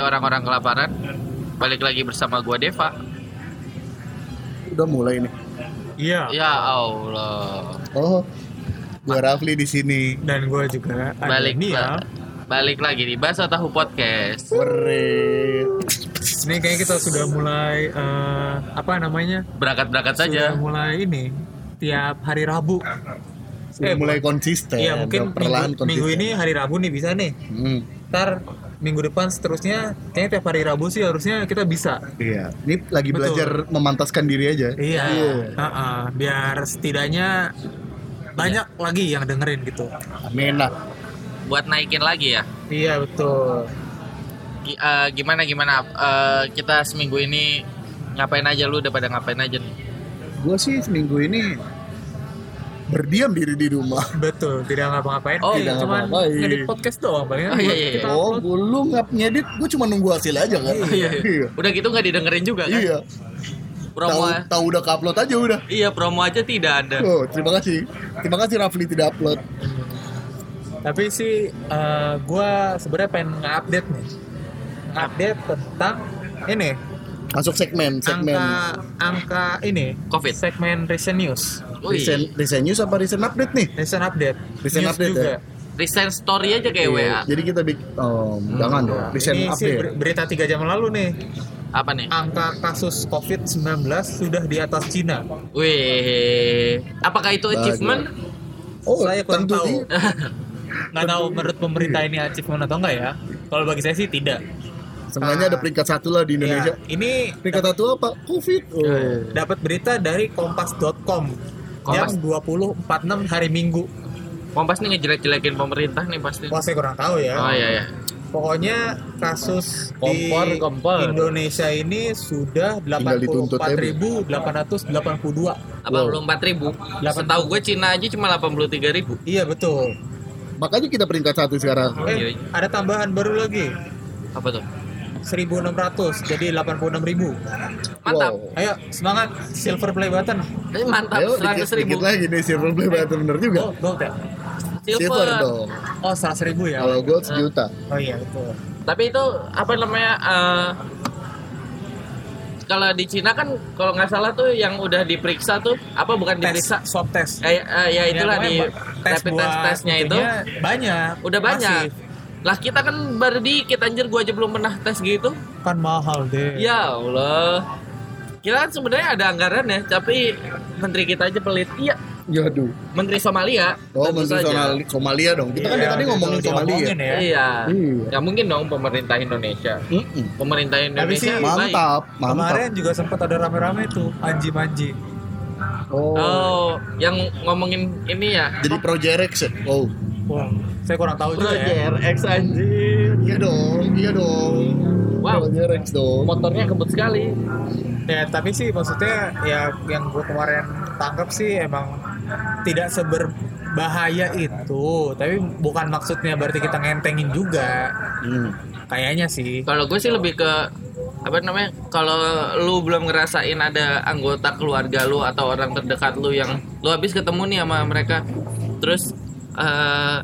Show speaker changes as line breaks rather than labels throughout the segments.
orang-orang kelaparan. Balik lagi bersama gua Deva.
Udah mulai nih.
Iya.
Ya Allah.
Oh, gue Rafli di sini.
Dan gue juga ada
Balik
Nia.
la- Balik lagi di Bahasa Tahu Podcast.
Were.
Ini kayaknya kita sudah mulai eh, apa namanya?
Berangkat-berangkat saja.
Sudah mulai ini tiap hari Rabu.
Sudah
Eh,
mulai konsisten. udah
Iya mungkin
perlahan
minggu, minggu ini
konsisten.
hari Rabu nih bisa nih.
Hmm,
Ntar minggu depan seterusnya kayaknya tiap hari Rabu sih harusnya kita bisa.
iya. Ini lagi
Betul.
belajar memantaskan diri aja.
Iya. Heeh, biar setidaknya banyak
Iya.
lagi yang dengerin gitu.
Amin Nah, lah.
Buat naikin lagi ya.
Iya betul.
Gi- eh, gimana gimana Eh, kita seminggu ini ngapain aja lu udah pada ngapain aja nih?
Gue sih seminggu ini berdiam diri di rumah.
Betul, tidak ngapa-ngapain.
Oh,
tidak
cuman
ngapa-ngapain.
ngedit podcast doang
Oh,
palingan.
iya,
buat
iya,
kita
iya.
Oh,
upload.
belum ngap ngedit, gue cuma nunggu hasil aja kan. iya.
Udah gitu nggak didengerin juga kan?
Iya. Tahu
Promo
ya.
tahu udah upload aja udah.
Iya, promo aja tidak ada.
Iya.
Oh, terima kasih. Terima kasih Rafli tidak upload.
Tapi sih eh, gua sebenarnya pengen nge-update nih. Update tentang ini
Masuk segmen, segmen.
angka angka ini
Covid.
segmen recent news.
Wih,
Recent, recent news apa recent update nih?
Recent update.
Recent
news
update
juga.
ya?
Recent story aja
Iya.
kayak WA.
Jadi kita bikin, oh,
Hmm.
jangan dong.
Iya.
Recent
ini sih
update.
ber- berita tiga jam lalu nih.
Apa nih?
Angka kasus COVID-19 sudah di atas Cina.
Wih, apakah itu
Bagus.
achievement?
Oh,
Saya kurang
tentu
tahu.
sih.
Nggak tahu menurut pemerintah ini achievement atau enggak ya. Kalau bagi saya sih tidak.
Sebenarnya
Ah.
ada peringkat satu lah di Indonesia.
Ya, ini
Peringkat satu apa? Covid.
Iya,
Oh.
dapat berita dari kompas.com
Kompas.
jam 20.46 hari Minggu.
Kompas nih ngejelek-jelekin pemerintah nih pasti.
Wah, saya kurang tahu ya.
Oh iya ya.
Pokoknya kasus
Kompor,
di
kompor.
Indonesia ini sudah
Tinggal dituntut ya, aja.
84.882.
Abang
Wow.
belum 4 ribu.
Delapan-
Setahu gue Cina aja cuma 83 ribu.
Iya betul.
Makanya kita peringkat satu sekarang.
iya,
Eh,
iya.
ada tambahan baru lagi.
Apa tuh?
1.600 jadi 86.000.
Mantap.
Wow.
Ayo semangat silver play button.
Eh, mantap.
Ayo,
100
dikit,
ribu. Iya.
dikit lagi nih silver play button bener juga.
Gold, gold ya.
Silver
Silver. Iya.
dong.
Oh 100.000 ya.
Kalau gold sejuta.
Oh iya betul.
Tapi itu apa namanya? eh, kalau di Cina kan kalau nggak salah tuh yang udah diperiksa tuh apa bukan
Tes
diperiksa?
swab test.
Eh, eh, ya itulah
Ya,
di
pokoknya tes
rapid
buat
test tesnya itu
itunya banyak.
udah banyak.
Masih.
Lah kita kan baru dikit anjir gua aja belum pernah tes gitu.
Kan mahal deh.
Ya Allah. Kita kan sebenarnya ada anggaran ya, tapi menteri kita aja pelit. Iya,
Yaduh.
menteri Somalia.
Oh,
tentu
menteri
saja.
Somali- Somalia dong. Kita kan
Iya,
dari tadi
gitu,
ngomongin Somalia.
diomongin ya.
Iya.
Iya.
Nggak mungkin dong pemerintah Indonesia.
Mm-mm.
Pemerintah Indonesia
sih,
baik.
Mantap, mantap.
Kemarin juga sempat ada rame-rame tuh anji-manji.
Oh.
Oh, yang ngomongin ini ya.
Jadi Project X ya? Oh.
Wah, saya kurang tahu juga ya.
X anjir.
Iya dong, iya dong.
Wow.
Project X dong.
Motornya kebut sekali.
Ya, tapi sih maksudnya ya yang gue kemarin tangkap sih emang tidak seberbahaya itu. Tapi bukan maksudnya berarti kita ngentengin juga.
Hmm.
Kayaknya sih.
Kalau gue sih lebih ke apa namanya? Kalau lu belum ngerasain ada anggota keluarga lu atau orang terdekat lu yang lu habis ketemu nih sama mereka, terus eh,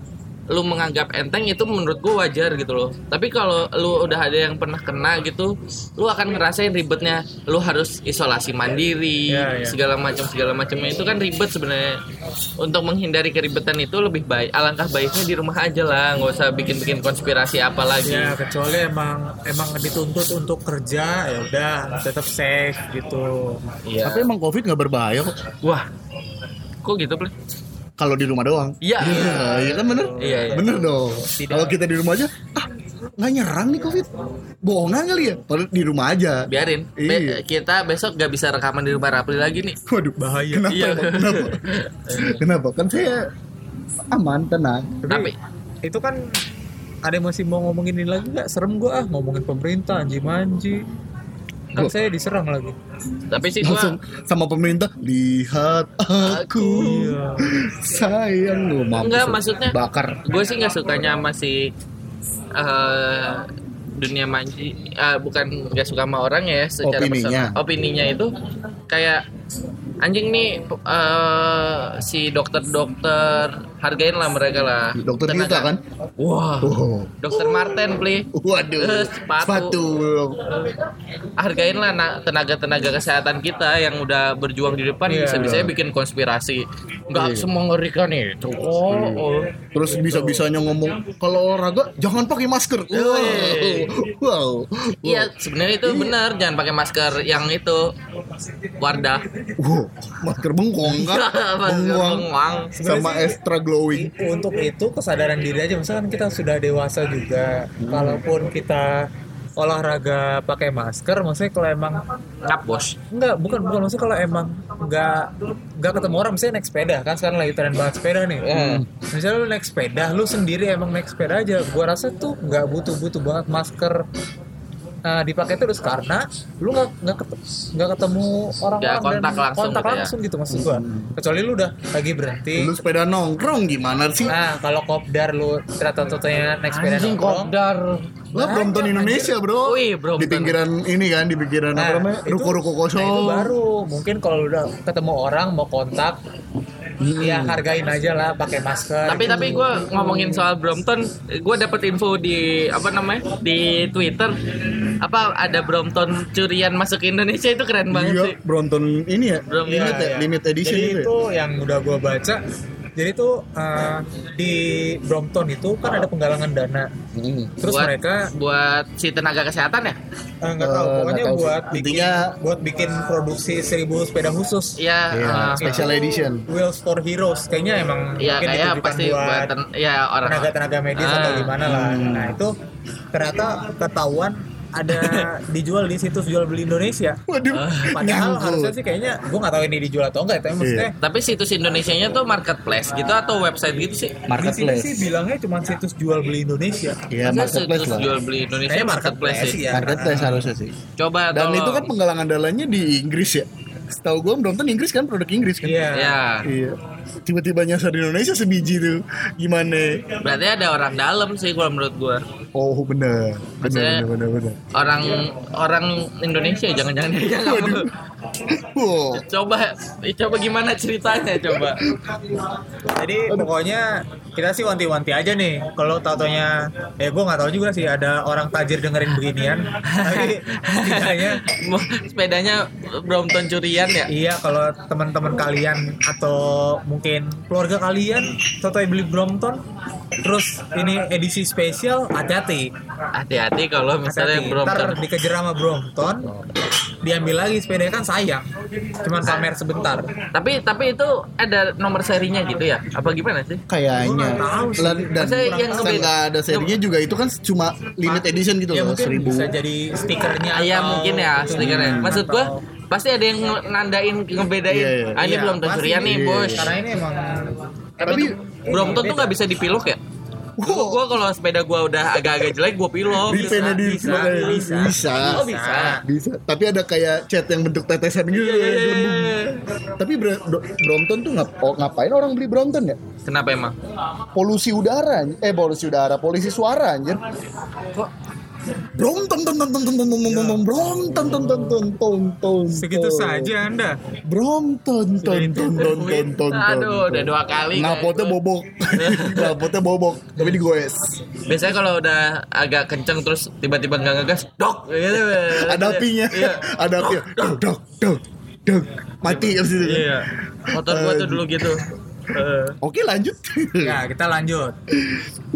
lu menganggap enteng itu menurut gue wajar gitu loh. Tapi kalau lu udah ada yang pernah kena gitu, lu akan ngerasain ribetnya. Lu harus isolasi mandiri,
Iya, iya.
segala macam segala macamnya itu kan ribet sebenarnya. Untuk menghindari keribetan itu lebih baik alangkah baiknya di rumah aja lah, nggak usah bikin-bikin konspirasi apa lagi.
Ya kecuali emang emang dituntut untuk kerja ya udah tetap safe gitu.
Iya.
Tapi emang Covid nggak berbahaya kok.
Wah, kok gitu, Ple?
Kalau di rumah doang.
Iya.
Iya kan bener?
Iya, iya.
Bener dong. Kalau kita di rumah aja, ah nggak nyerang nih Covid. Bohongan kali ya. Padahal di rumah aja.
Biarin. Be-
Iya.
kita besok gak bisa rekaman di rumah Rapli lagi nih.
Waduh,
Bahaya.
Kenapa?
Iya.
emang? Kenapa? kenapa? Kan saya aman, tenang.
Tapi
itu kan ada yang masih mau ngomongin ini lagi nggak serem gua ah ngomongin pemerintah anji manji kan
Loh.
saya diserang lagi
tapi sih
Langsung
gua
sama pemerintah, lihat aku.
iya
Sayang lu mampus.
Enggak, maksudnya-
bakar.
gue sih nggak sukanya sama si eh, dunia manji eh, bukan nggak suka sama orang ya secara
Opininya.
personal. opininya itu kayak anjing nih eh, si dokter-dokter hargain lah mereka lah.
Dokter
Tenaga.
Dita kan?
Wah.
Oh.
Dokter Martin, please.
Waduh,
Eh, sepatu. hargain lah na- tenaga-tenaga kesehatan kita yang udah berjuang di depan
Iya.
bisa-bisanya bikin konspirasi nggak
Iya.
semua ngerikan itu oh, oh.
Terus
Gitu.
bisa-bisanya ngomong kalau olahraga jangan pakai masker. Wow.
Wih.
Wow.
iya sebenarnya itu benar jangan pakai masker yang itu Wardah
Wow. Masker bengkong kan?
Masker bengkong.
Sama
Sebenarnya sih-
extra glowing.
untuk itu kesadaran diri aja misalkan kita sudah dewasa juga kalaupun kita olahraga pakai masker maksudnya kalau emang
cap bos
enggak bukan bukan maksudnya kalau emang enggak enggak ketemu orang misalnya naik sepeda kan sekarang lagi tren banget sepeda nih
Hmm.
misalnya lu naik sepeda lu sendiri emang naik sepeda aja gua rasa tuh enggak butuh-butuh banget masker eh, dipakai terus karena lu nggak nggak ket- nggak ketemu orang-orang
Nggak kontak
dan
langsung
kontak
gitu ya.
langsung gitu maksud gua kecuali lu udah lagi berhenti
Lu sepeda nongkrong gimana sih?
Nah, kalau kopdar lu ternyata contohnya naik sepeda
anjing
ya, nongkrong.
kopdar
Lah
nah,
Brompton Indonesia, Bro.
Wih, Brompton.
Di pinggiran ini kan, di pinggiran
Nah,
apa namanya?
itu-
Ruko-ruko kosong.
Nah, itu baru. Mungkin kalau lu udah ketemu orang mau kontak,
Hmm.
ya hargain aja lah pakai masker.
tapi tapi gue ngomongin soal Brompton gue dapet info di apa namanya di Twitter apa ada Brompton curian masuk ke Indonesia itu keren banget
Iya,
sih
Brompton ini ya,
Brompton.
limit
Iya,
ya,
iya.
limit edition
Jadi
gitu ya.
itu yang udah gua baca. Jadi tuh eh, di Brompton itu kan ada penggalangan dana.
Hmm.
Terus
buat,
mereka
buat si tenaga kesehatan ya
eh, nggak tahu
Eh,
pokoknya
nggak tahu sih.
buat bikin
Intinya-
buat bikin produksi 1000 sepeda khusus.
Iya,
Iya,
eh,
special
Itu
edition.
Wheels for Heroes kayaknya emang
Iya
mungkin
kayak
ditujukan
pasti
buat
buatan ya orang
tenaga tenaga medis
Ah.
atau gimana lah nah itu ternyata ketahuan ada dijual di situs jual beli Indonesia
Waduh,
Eh, padahal
nyangkut.
harusnya sih kayaknya gue nggak tahu ini dijual atau enggak
Iya.
tapi maksudnya
Tapi situs Indonesianya tuh marketplace gitu atau website gitu sih?
di sini sih bilangnya cuma situs jual beli Indonesia
Iya,
Masa
marketplace
situs
lah.
jual beli Indonesia
Kayaknya
marketplace, sih.
ya
Marketplace harusnya sih.
Coba
Dan
tolong.
itu kan penggalangan dananya di Inggris ya. Setahu gua Brompton Inggris kan produk Inggris kan.
iya
Ya,
Iya. Tiba-tiba nyasar di Indonesia sebiji tuh. Gimana?
berarti ada orang dalam sih kalau menurut gua.
Oh bener,
Maksudnya-
bener, bener, bener, bener.
Orang orang Indonesia jangan-jangan dia nggak mau.
Wow.
Coba eh, coba gimana ceritanya coba.
jadi pokoknya kita sih wanti-wanti aja nih kalau tautonya eh gue nggak tahu juga sih ada orang tajir dengerin beginian tapi setidaknya
Mau- Sepedanya Brompton curian ya.
Iya, kalau teman-teman kalian atau mungkin keluarga kalian contohnya beli Brompton, terus ini edisi spesial, hati-hati.
Hati-hati kalau misalnya
Hati-hati. Ntar
Brompton.
dikejar sama Brompton, diambil lagi sepedanya kan sayang. Cuman pamer sebentar.
Tapi tapi itu ada nomor serinya gitu ya? Apa gimana sih?
Kayaknya.
Gua nggak tahu sih.
Dan, dan
Maksudnya yang
dan
ngebeda-
nggak ada serinya juga itu kan cuma limit edition gitu
ya
loh,
mungkin
seribu.
bisa jadi stikernya
Ah, Iya
atau
mungkin ya
itunya,
stikernya. Maksud gua
atau-
pasti ada yang nge- nandain ngebedain.
Iya, iya.
Ah ini
Iya,
belum tentu
pasti.
ya nih,
Iya.
Bos.
Karena ini emang
Tapi,
Tapi-
tuh, Brompton tuh nggak bisa dipilok ya? Gua,
Wow.
gua kalau sepeda gua udah agak-agak jelek gua pilok. gitu kan. Iya,
Bisa, di
bisa,
makanya.
bisa.
ya? bisa.
Oh bisa.
Bisa. Tapi ada kayak cat yang bentuk tetesan gitu.
Iya, iya, iya, iya.
Tapi Bra- Do- Brompton tuh ngap- oh, ngapain orang beli Brompton ya?
Kenapa emang?
Polusi udara, anj- eh polusi udara, polusi suara anjir.
Kok
Brompton ton ton ton ton ton ton ton ton Brompton ton ton ton ton ton.
segitu saja Anda.
Brompton ton ton ton ton ton.
Aduh, udah dua kali. kayak
Knalpotnya
gua.
bobok. Knalpotnya bobok, tapi digoes.
Biasanya kalau udah agak kenceng terus tiba-tiba nggak ngegas, dok. Gitu.
Ada apinya.
Iya.
Ada apinya. Dok dok dok. Dok. Mati abis itu.
Iya. Motor gua tuh dulu gitu. Eh,
Oke lanjut.
Iya.
Ya, kita lanjut.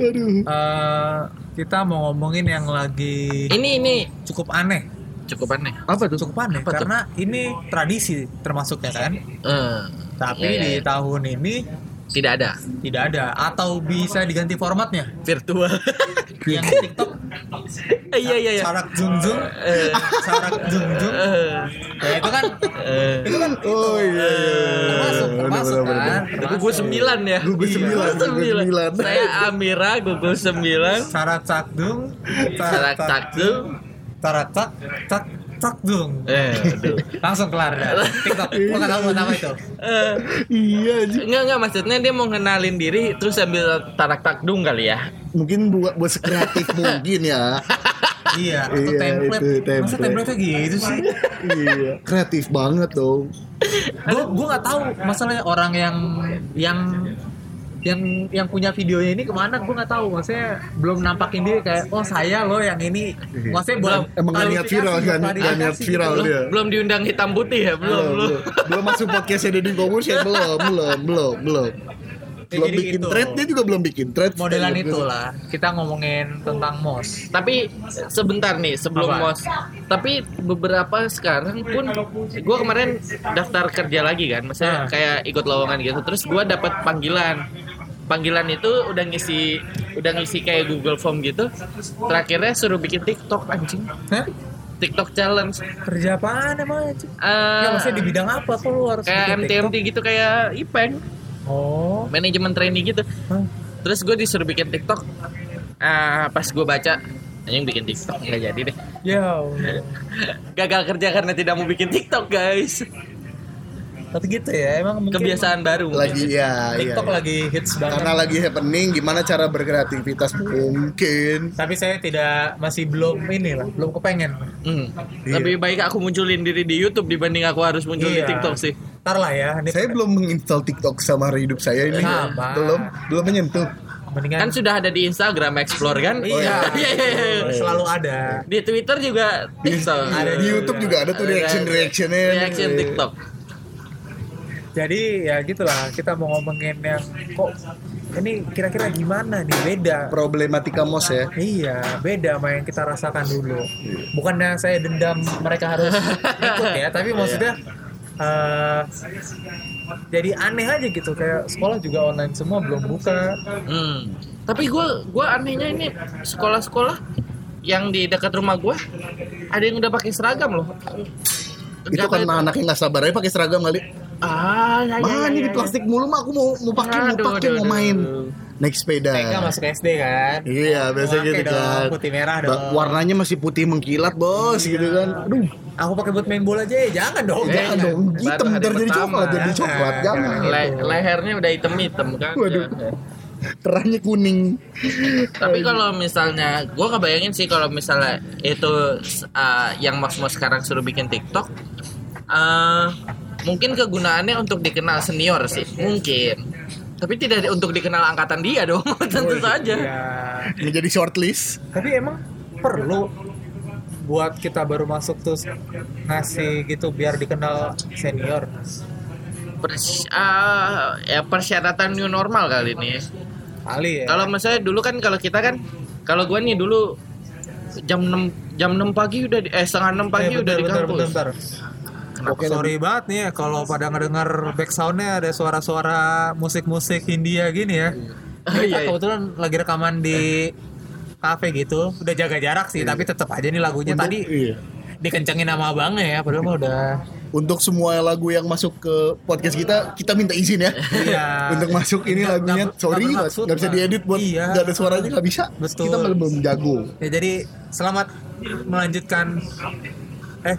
Aduh.
Eh, kita mau ngomongin yang lagi
ini ini ya?
cukup aneh.
cukup aneh.
Apa tuh?
cukup aneh
Apa tuh?
karena ini tradisi termasuknya kan
Eh,
tapi
iya, iya,
di
iya.
tahun ini
tidak ada
tidak ada atau bisa diganti formatnya
virtual.
yang di TikTok
Iya iya iya.
sarak jungjung
Eh,
sarak jungjung
eh,
ya itu kan
eh.
itu kan
Oh iya.
termasuk termasuk kan
Gugus sembilan ya.
Gugus
Iya.
sembilan,
Gugus
gugus sembilan.
Saya Amira gugus sembilan.
sarak cakdung
Sarak takjub.
sarak cak cak cakdung
Eh, aduh.
langsung kelar dah TikTok gua nggak tahu buat apa itu
Eh,
Iya anjing.
enggak enggak maksudnya dia mau kenalin diri terus sambil tarak takdung kali ya.
Mungkin buat buat sekreatif mungkin ya.
iya itu
Iya,
template
itu
masa
template.
template-nya gitu sih
Iya. Kreatif banget dong.
gue gue nggak tahu masalahnya orang yang yang yang yang punya videonya ini kemana gue nggak tahu maksudnya belum nampakin diri kayak oh saya loh yang ini maksudnya belum
Iya. Emang gak niat viral kan? Gak niat
gitu
viral
belum,
dia.
belum diundang hitam putih ya belum belum
Iya. belum masuk podcastnya Deddy Komusya belum belum belum belum
Ya,
belum
jadi
bikin
gitu.
thread dia Iya, gitu. juga belum bikin thread
modelan itulah kita ngomongin tentang mos
tapi sebentar nih sebelum
Apa?
mos tapi beberapa sekarang pun gue kemarin daftar kerja lagi kan misalnya
Ah.
kayak ikut lowongan gitu terus gue dapat panggilan panggilan itu udah ngisi udah ngisi kayak Google Form gitu terakhirnya suruh bikin TikTok anjing
Hah?
TikTok challenge
kerja apaan emang anjing?
Eh,
Ya maksudnya di bidang apa kok lu harus
kayak
bikin
MTMT gitu kayak Ipeng
TikTok? Oh.
manajemen training gitu
Hah?
terus gue disuruh bikin TikTok Ah, pas gue baca anjing bikin TikTok nggak jadi deh
Ya. Allah.
gagal kerja karena tidak mau bikin TikTok guys
Tapi gitu ya, emang mungkin
kebiasaan baru
lagi ya iya,
TikTok
iya.
lagi hits banget.
karena lagi happening gimana cara berkreativitas mungkin
Tapi saya tidak masih belum ini lah, belum kepengen.
Hmm.
Iya.
lebih baik aku munculin diri di YouTube dibanding aku harus muncul di
Iya.
TikTok sih
Ntar lah ya, ini
saya belum menginstal TikTok sama hari hidup saya ini
Sama.
belum belum menyentuh Iya.
mendingan
kan sudah ada di Instagram Explore kan
iya,
Oh,
Iya, iya, iya.
selalu ada.
di Twitter juga TikTok Iya.
Ada
Iya. di YouTube juga ada tuh reaction reactionnya Iya.
reaction TikTok
Jadi ya gitulah, kita mau ngomongin yang kok ini kira-kira gimana nih beda
problematika mos ya
Iya, beda sama yang kita rasakan dulu.
Iya.
Bukannya saya dendam mereka harus ikut ya,
Iya.
tapi maksudnya eh, jadi aneh aja gitu kayak sekolah juga online semua belum buka.
Hmm. Tapi gue gua anehnya ini sekolah-sekolah yang di dekat rumah gue ada yang udah pakai seragam loh.
itu
Nggak
kan karena anaknya nggak sabar aja pakai seragam kali
tahu- ah, ya, ya,
mah
ya,
ini
ya,
di plastik mulu mah aku mau mau pakai mau
Aduh,
pakai
aduh,
mau
aduh,
main
aduh.
naik sepeda
Mereka masuk SD kan.
Iya, biasanya
Pakai
gitu
dong,
kan.
putih merah
Ba-
dong. Iya.
Warnanya masih putih mengkilat, Bos, gitu kan. Aduh,
Aku pakai buat main bola aja, ya. jangan dong.
Eh,
jangan dong.
baru
Hitam
hari
ntar jadi
pertama,
coklat, jadi
jangan,
coklat, jangan.
jangan.
Le- lehernya udah item-item kan.
Waduh.
Ya.
Terangnya kuning.
Tapi kalau misalnya gue kebayangin sih kalau misalnya itu uh, yang mas-mas sekarang suruh bikin TikTok eh mungkin kegunaannya untuk dikenal senior sih, mungkin. Tapi tidak di- untuk dikenal angkatan dia dong, tentu saja.
Iya.
Menjadi shortlist.
Tapi emang perlu buat kita baru masuk terus ngasih gitu biar dikenal senior.
Pers- ah, ya persyaratan new normal kali ini.
Ali ya.
Kalau misalnya dulu kan kalau kita kan kalau gua nih dulu jam 6 jam 6 pagi udah di, eh setengah 6 pagi
Eh,
udah
bentar,
di
bentar,
kampus.
bentar, bentar. Oke, sorry banget nih ya kalau pada ngedengar back soundnya ada suara-suara musik-musik Hindia gini ya.
Oh, iya,
Kita
iya.
kebetulan lagi rekaman di kafe gitu, udah jaga jarak sih, tapi tetap aja nih lagunya
Iya, Untuk-
Ya, tadi
iya.
dikencengin sama abangnya ya, padahal mah udah.
Untuk semua lagu yang masuk ke podcast kita, kita minta izin ya.
Iya.
Untuk masuk ini
Nggak-
lagunya,
nggak-
sorry,
nggak
nggak
bermaksud,
nggak bisa
Pak.
diedit buat
Iya.
nggak ada suaranya kan? nggak bisa.
Betul.
Kita malah belum jago.
Ya jadi selamat melanjutkan eh
Ini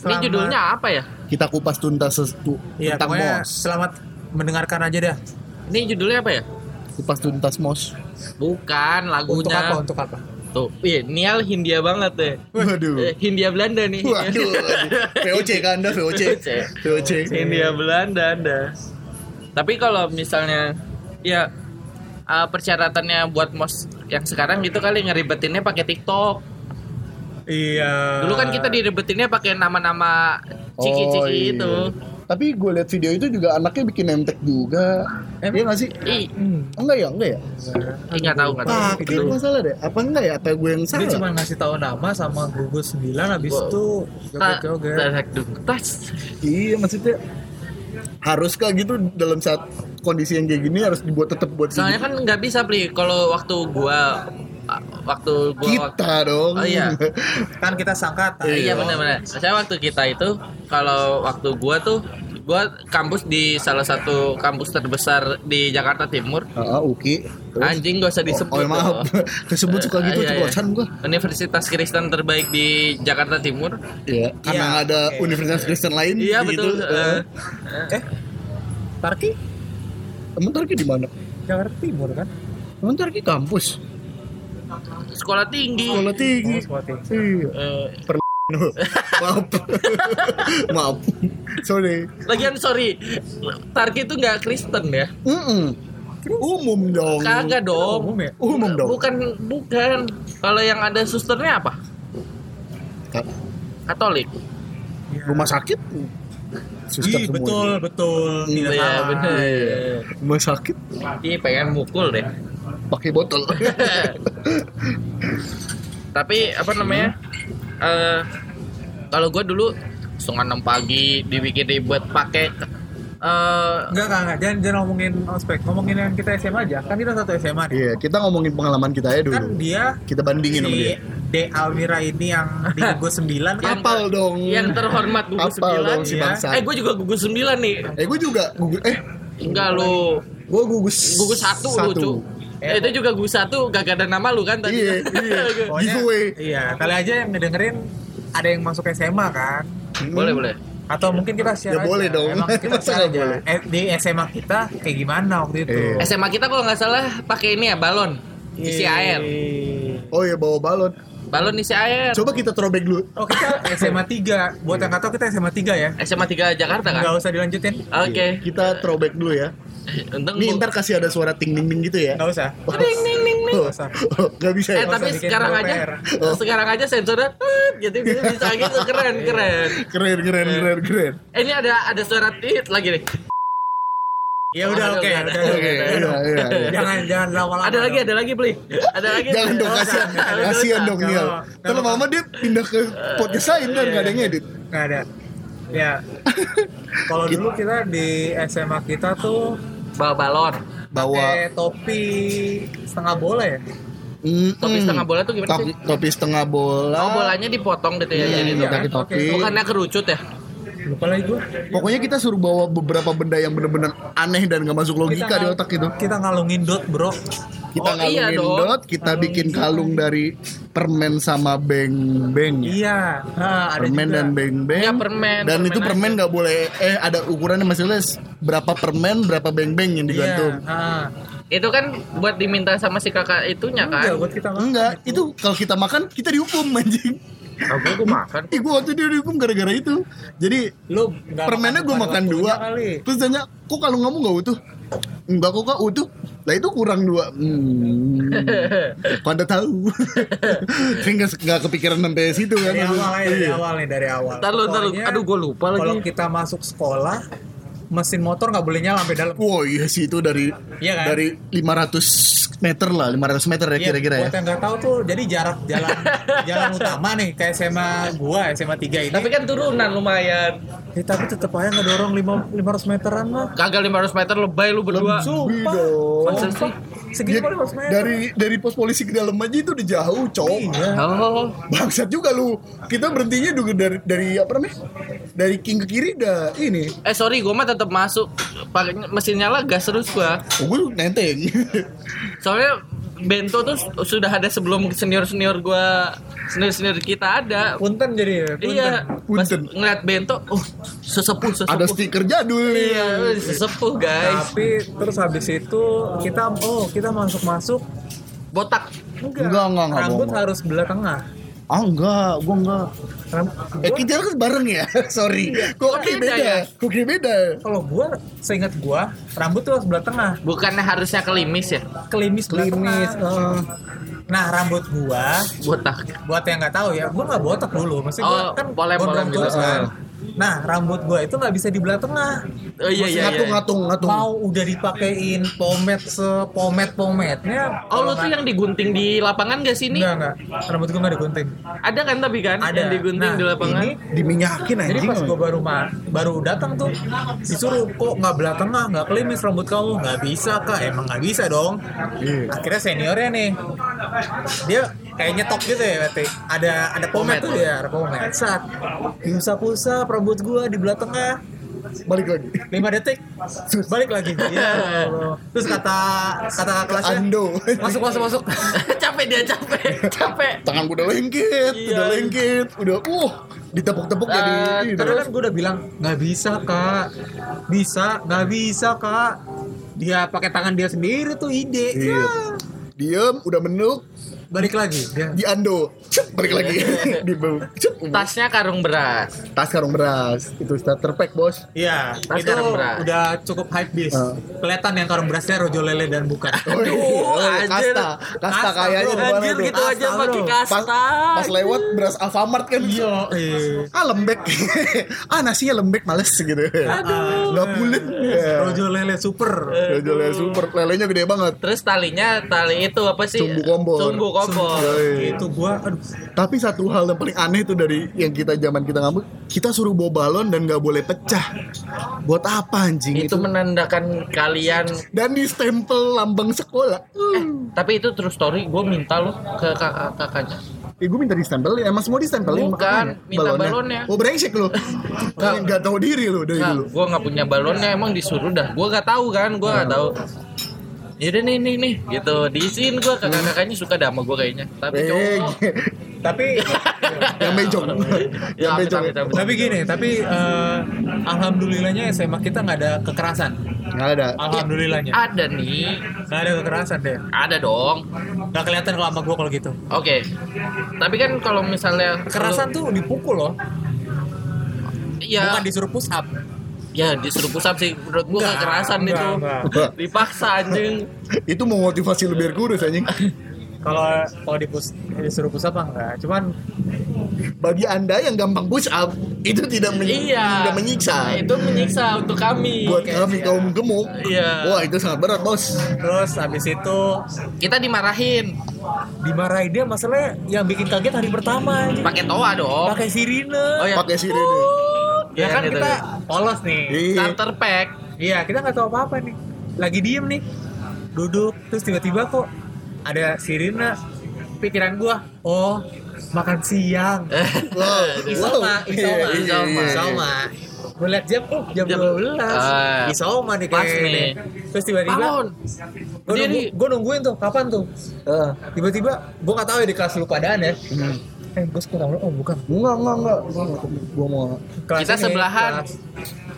selamat-
judulnya apa ya?
Kita kupas tuntas sesu-
Iya,
tentang
pokoknya
mos.
selamat mendengarkan aja dah.
Ini judulnya apa ya?
Kupas tuntas mos.
Bukan
Untuk apa?
lagunya.
Untuk apa?
Tuh, iya, Nial Hindia banget deh. Eh,
Waduh.
Hindia Belanda nih.
Hmm. Waduh. VOC kan Anda VOC.
VOC.
VOC.
Hindia Belanda ada. Tapi kalau misalnya ya eh, persyaratannya buat mos yang sekarang gitu kali ngeribetinnya pakai TikTok.
Iya.
Dulu kan kita diribetinnya pakai nama-nama ciki-ciki
Oh, iya.
itu.
Tapi gue liat video itu juga anaknya bikin emtek juga.
Em-
Iya gak sih?
Ih,
Hmm.
Enggak ya, enggak ya?
ih, nggak tahu nggak tahu.
Pakai
Itu-
masalah deh. Apa enggak ya? Apa gue yang
Dia
salah?
cuma ngasih tahu nama sama gugus 9 habis
Wow. Ah,
itu
Ta-
joget-joget.
tarik dulu. Tas.
Iya maksudnya haruskah gitu dalam saat kondisi yang kayak gini harus dibuat tetap buat gitu?
Soalnya kan nggak bisa beli kalau waktu gua waktu gua
kita dong.
Oh, iya.
Kan kita sangkatan.
Iya, iya benar-benar. Saya waktu kita itu kalau waktu gua tuh gua kampus di salah satu kampus terbesar di Jakarta Timur.
Ah, Uki. Terus?
Anjing gak usah disebut.
Oh, oh, maaf.
dong.
Kesebut suka gitu
Eh, iya, iya.
ceplosan gua.
Universitas Kristen terbaik di Jakarta Timur.
Iya, karena
Iya,
nggak ada
oke.
universitas Kristen lain
Iya
gitu.
betul. Eh,
Eh. Tarki
Emang Turki di mana?
Jakarta Timur kan?
Emang Turki kampus.
sekolah tinggi.
Sekolah tinggi.
Oh, sekolah tinggi.
Iya.
Eh,
maaf maaf sorry
Lagian sorry, Tarki itu nggak Kristen ya?
Mm-mm. umum dong
Kagak dong.
Umum ya?
Oh. umum dong
Bukan, bukan. Kalau yang ada susternya apa?
Ka-
Katolik.
rumah sakit suster
Ih,
semua
betul, betul. Tidak
Iya,
salah.
bener.
Iya.
rumah sakit
Ih, pengen mukul deh.
pakai botol
Tapi apa namanya? Eh kalau gue dulu setengah enam pagi dibikin ribet pakai eh
Enggak, enggak, enggak. Jangan, jangan ngomongin ospek. Ngomongin yang kita SMA aja. Kan kita satu SMA nih.
iya kita ngomongin pengalaman kita aja
Kan
dulu
dia
kita bandingin sama
si
dia
D. Almira ini yang di gugus 9 kan
Yang-
apal dong
yang terhormat gugus
apal dong
sembilan.
si
ya.
bangsa
Eh, gue juga gugus sembilan nih.
eh gue juga gugus eh
Enggak lu.
gue gugus
Gugus satu, lu, Cu. Eh, itu juga gugus satu gak ada nama lu kan tadi.
iya iya
Pokoknya-
giveaway
Iya, kali aja yang ngedengerin ada yang masuk SMA kan.
Hmm.
boleh, boleh.
Atau mungkin kita share
Ya,
aja.
boleh dong.
Emang kita
Masa
share
nggak
aja.
boleh?
Eh, Di SMA kita kayak gimana waktu itu.
Iya.
SMA kita kalau nggak salah pakai ini ya balon isi
Iya.
air.
oh iya bawa balon
Balon isi air.
coba kita throwback dulu
Oh, kita SMA 3. Buat yang nggak tahu kita SMA 3 ya.
SMA 3 Jakarta kan?
Enggak usah dilanjutin.
Oke.
Iya, kita throwback dulu ya
Untung
Nih
bu-
ntar kasih ada suara ting ding ding gitu ya.
Enggak usah.
Ding, ding, ding, ding.
usah.
Gak bisa
Eh
ya.
tapi
usah bikin
sekarang aja
PR.
Oh.
sekarang aja sensornya "Tit," jadi bisa bisa gitu keren keren.
Keren keren keren keren.
Eh, ini ada ada suara tit lagi nih.
Ya udah oke,
Oke,
udah.
Oke,
udah.
iya iya iya.
Jangan jangan lama-lama.
Ada lagi ada lagi beli. Ada lagi.
Jangan dong
Ada
kasihan
dosa. Ada
kasihan
dosa.
dong
Nggak
Niel.
apa-apa.
Ntar lama-lama dia pindah ke podcast lain dan gak ada yang edit.
Nggak ada. Ya. Kalau
Gitu.
dulu kita di SMA kita tuh
Bawa balon.
Bawa
pakai topi setengah bola ya.
Mm-mm.
Topi setengah bola tuh gimana
Topi-
sih?
topi setengah bola.
Oh bolanya dipotong gitu ya jadi
Iya,
tuh.
pakai topi.
Bukannya kerucut ya?
Lupa lagi gue.
Pokoknya kita suruh bawa beberapa benda yang bener-bener aneh dan gak masuk logika di
ngal-
otak itu.
Kita ngalungin dot, Bro.
Kita
Oh, iya
ngalungin
dong.
dot, kita bikin kalung dari permen sama beng-beng. ya.
Iya. Nah, ada
permen
juga.
dan beng-beng.
Iya, permen,
Dan
permen
itu permen nggak boleh eh ada ukurannya maksudnya berapa permen berapa beng-beng yang
Iya.
digantung.
Ah.
Itu kan buat diminta sama si kakak itunya
Enggak,
kan?
buat kita makan.
Enggak, itu kalau kita makan kita dihukum anjing.
Aku gue Ah, makan.
Ih, gua waktu itu dihukum gara-gara itu. Jadi
Lu nggak
permennya gue
pada
makan
waktunya
dua. Iya.
kali.
Terus tanya, kok kalau kamu nggak utuh? Enggak kok kak utuh. Lah itu kurang dua. Hmm. Kau anda tahu. Saya nggak nggak kepikiran sampai situ kan.
Dari awal ya, dari awal nih, dari awal.
Ntar lu, ntar lu.
Pokoknya,
Aduh, gue lupa
Kalau
lagi.
kita masuk sekolah, mesin motor nggak boleh nyala sampai dalam.
Wah iya sih itu dari
Iya kan?
dari 500 meter lah 500 meter ya
Iya,
kira-kira ya.
Buat yang nggak tahu tuh, jadi jarak jalan jalan utama nih kayak SMA gua, SMA 3 ini.
Tapi kan turunan lumayan.
Eh, tapi tetap aja ngedorong 5 500 meteran mah.
Kagak 500 meter lebay lu berdua.
Lebih.
Sumpah.
Iya dong.
Masa sih?
Sumpah.
Ya,
Segini paling 500 meter.
dari dari pos polisi ke dalam aja itu udah jauh, cowok.
Iya.
Oh,
Bangsat juga lu. Kita berhentinya juga dari dari apa namanya? Dari king ke kiri dah ini.
eh sorry, gue mah tetap masuk. Pakai mesin nyala gas terus gua.
Oh, gue nenteng.
Soalnya bento tuh sudah ada sebelum senior senior gua, senior senior kita ada.
Punten jadi ya, punten.
Iya, pas
Punten.
ngeliat bento, oh sesepuh sesepuh.
Ada stiker jadul nih.
Iya, sesepuh guys.
Tapi terus habis itu kita oh kita masuk masuk
Botak.
Enggak, enggak, enggak,
rambut
enggak.
harus belah tengah.
Ah enggak, gua enggak.
Ram-
Eh
gua-
kita kan bareng ya. Sorry. Kok
Kok
kayak
beda
beda?
ya?
Kok kayak beda?
kalau gua seingat gua rambut tuh harus belah tengah,
Bukannya harusnya kelimis ya?
kelimis belah
Klimis.
tengah.
eh.
Nah rambut gua
Botak.
buat yang nggak tahu ya, gua nggak botak dulu, mesti gua
Oh,
kan
polem-polem
gondrong
gitu.
terus kan. Nah rambut gua itu nggak bisa dibelah tengah.
Oh iya iya. iya.
ngatung, ngatung, ngatung.
Mau udah dipakein pomade sepomet pometnya.
Oh lu tuh yang digunting di lapangan gak sih ini?
Enggak, enggak. Rambut gua nggak digunting.
Ada kan tapi kan
Ada.
yang digunting
Nah,
di lapangan?
ini
Diminyakin
Jadi
anjing.
pas gue baru ma- baru datang tuh disuruh kok nggak belah tengah nggak kelimis rambut kamu nggak bisa kak emang nggak bisa dong
Iya.
akhirnya seniornya nih dia kayak nyetok gitu ya berarti ada ada
Pomet.
pomet tuh ya ada pomet saat usap-usap rambut gue di belah tengah
Balik lagi.
5 detik balik lagi ya Allah. terus kata kata
ya?
kelasnya
Ando.
masuk masuk masuk
capek dia capek capek.
Tangan gua udah lengket,
Iya.
udah lengket, udah uh ditepuk-tepuk jadi
Eh,
ini.
Terus kan gue udah bilang nggak bisa kak, bisa nggak bisa kak. Dia pakai tangan dia sendiri tuh ide.
Iya.
Ya.
Diem, udah menuk,
balik lagi dia
di Ando Cep, balik lagi
Iya,
di bau Cep,
Tasnya karung beras.
tas karung beras itu starter pack bos
Iya,
Mas
itu
karung beras.
udah cukup hype bis.
Ah.
Kelihatan yang karung berasnya rojo lele dan bukan.
Oh, iya. Oh,
anjir.
kasta kasta
Kasta,
kayaknya
bro.
di mana
Anjir
tuh
gitu aja
Kasta,
pakai
bro.
kasta.
pas, pas lewat beras Alfamart kan
Iya.
Yo, eh.
ah lembek ah nasinya lembek males gitu
Aduh.
nggak pulen Ya.
Ah, Rojo lele super.
Jojo lele super lelenya gede banget
Terus talinya tali itu apa sih?
Sumbu kompor.
Sumbu kompor.
Yoi.
Itu gua aduh.
tapi satu hal yang paling aneh tuh dari yang kita zaman kita ngambek kita suruh bawa balon dan nggak boleh pecah buat apa anjing
Itu
itu,
menandakan kalian
dan di stempel lambang sekolah
Eh, tapi itu true story gue minta lo ke kakak kakaknya
Eh gue minta distempelin, emang semua distempelin
Bukan,
makanya.
minta balonnya.
Oh brengsek lu Kalian gak tau diri lu dari
nah,
dulu
gue nggak punya balonnya emang disuruh dah gue nggak tahu kan gue
Iya.
nggak tahu Yaudah nih nih nih gitu diisiin gue kakak kakaknya suka dah sama gue kayaknya tapi
Hmm. Eh,
cowok
Tapi
yang bejong Yang
Ya, amit,
bejong
amit, amit.
tapi gini, tapi eh, alhamdulillahnya SMA kita nggak ada kekerasan.
Gak ada
Alhamdulillahnya.
ada nih
Nggak ada kekerasan deh.
ada dong
Nggak kelihatan kalau sama gua kalau gitu.
oke tapi kan kalau misalnya
Kekerasan tuh dipukul loh,
lu- ya
bukan disuruh push up.
ya disuruh pusap sih menurut gue
Nggak,
kekerasan
nggak,
itu
nggak.
dipaksa anjing
Itu mau motivasi lu biar kurus anjing
Kalau kalau dipus, disuruh push up apa enggak? Cuman
Bagi anda yang gampang push up Itu tidak, men-
iya
tidak menyiksa
itu menyiksa untuk kami
Buat kami kaum gemuk
Iya.
Wah itu sangat berat bos
terus habis itu
kita dimarahin
dimarahin dia masalahnya yang bikin kaget hari pertama aja.
pakai toa dong
pakai sirine.
Oh, iya.
Pakai sirene
Ya
Iya,
kan
gitu,
kita
gitu.
polos nih.
Iya
starter pack
Iya, kita nggak tahu apa-apa nih. Lagi diem nih, duduk, terus tiba-tiba kok ada sirine. Pikiran gua, oh makan siang.
Wow.
Isoma,
Wow. Iya,
Isoma,
iya,
Isoma.
iya, iya.
Isoma. Gue liat jam, oh jam,
Jam-
12
Ah.
Isoma nih
Pas
kayaknya
nih.
nih. Terus tiba-tiba
bangun
Gue nunggu,
Diri.
gua nungguin tuh, kapan tuh Eh, Tiba-tiba, gue gak tahu ya di kelas lu keadaan ya
Hmm.
Eh, gue kurang lu, oh bukan
Enggak, enggak, enggak Gue mau
Kelas
Kita
ini,
sebelahan.
Kelas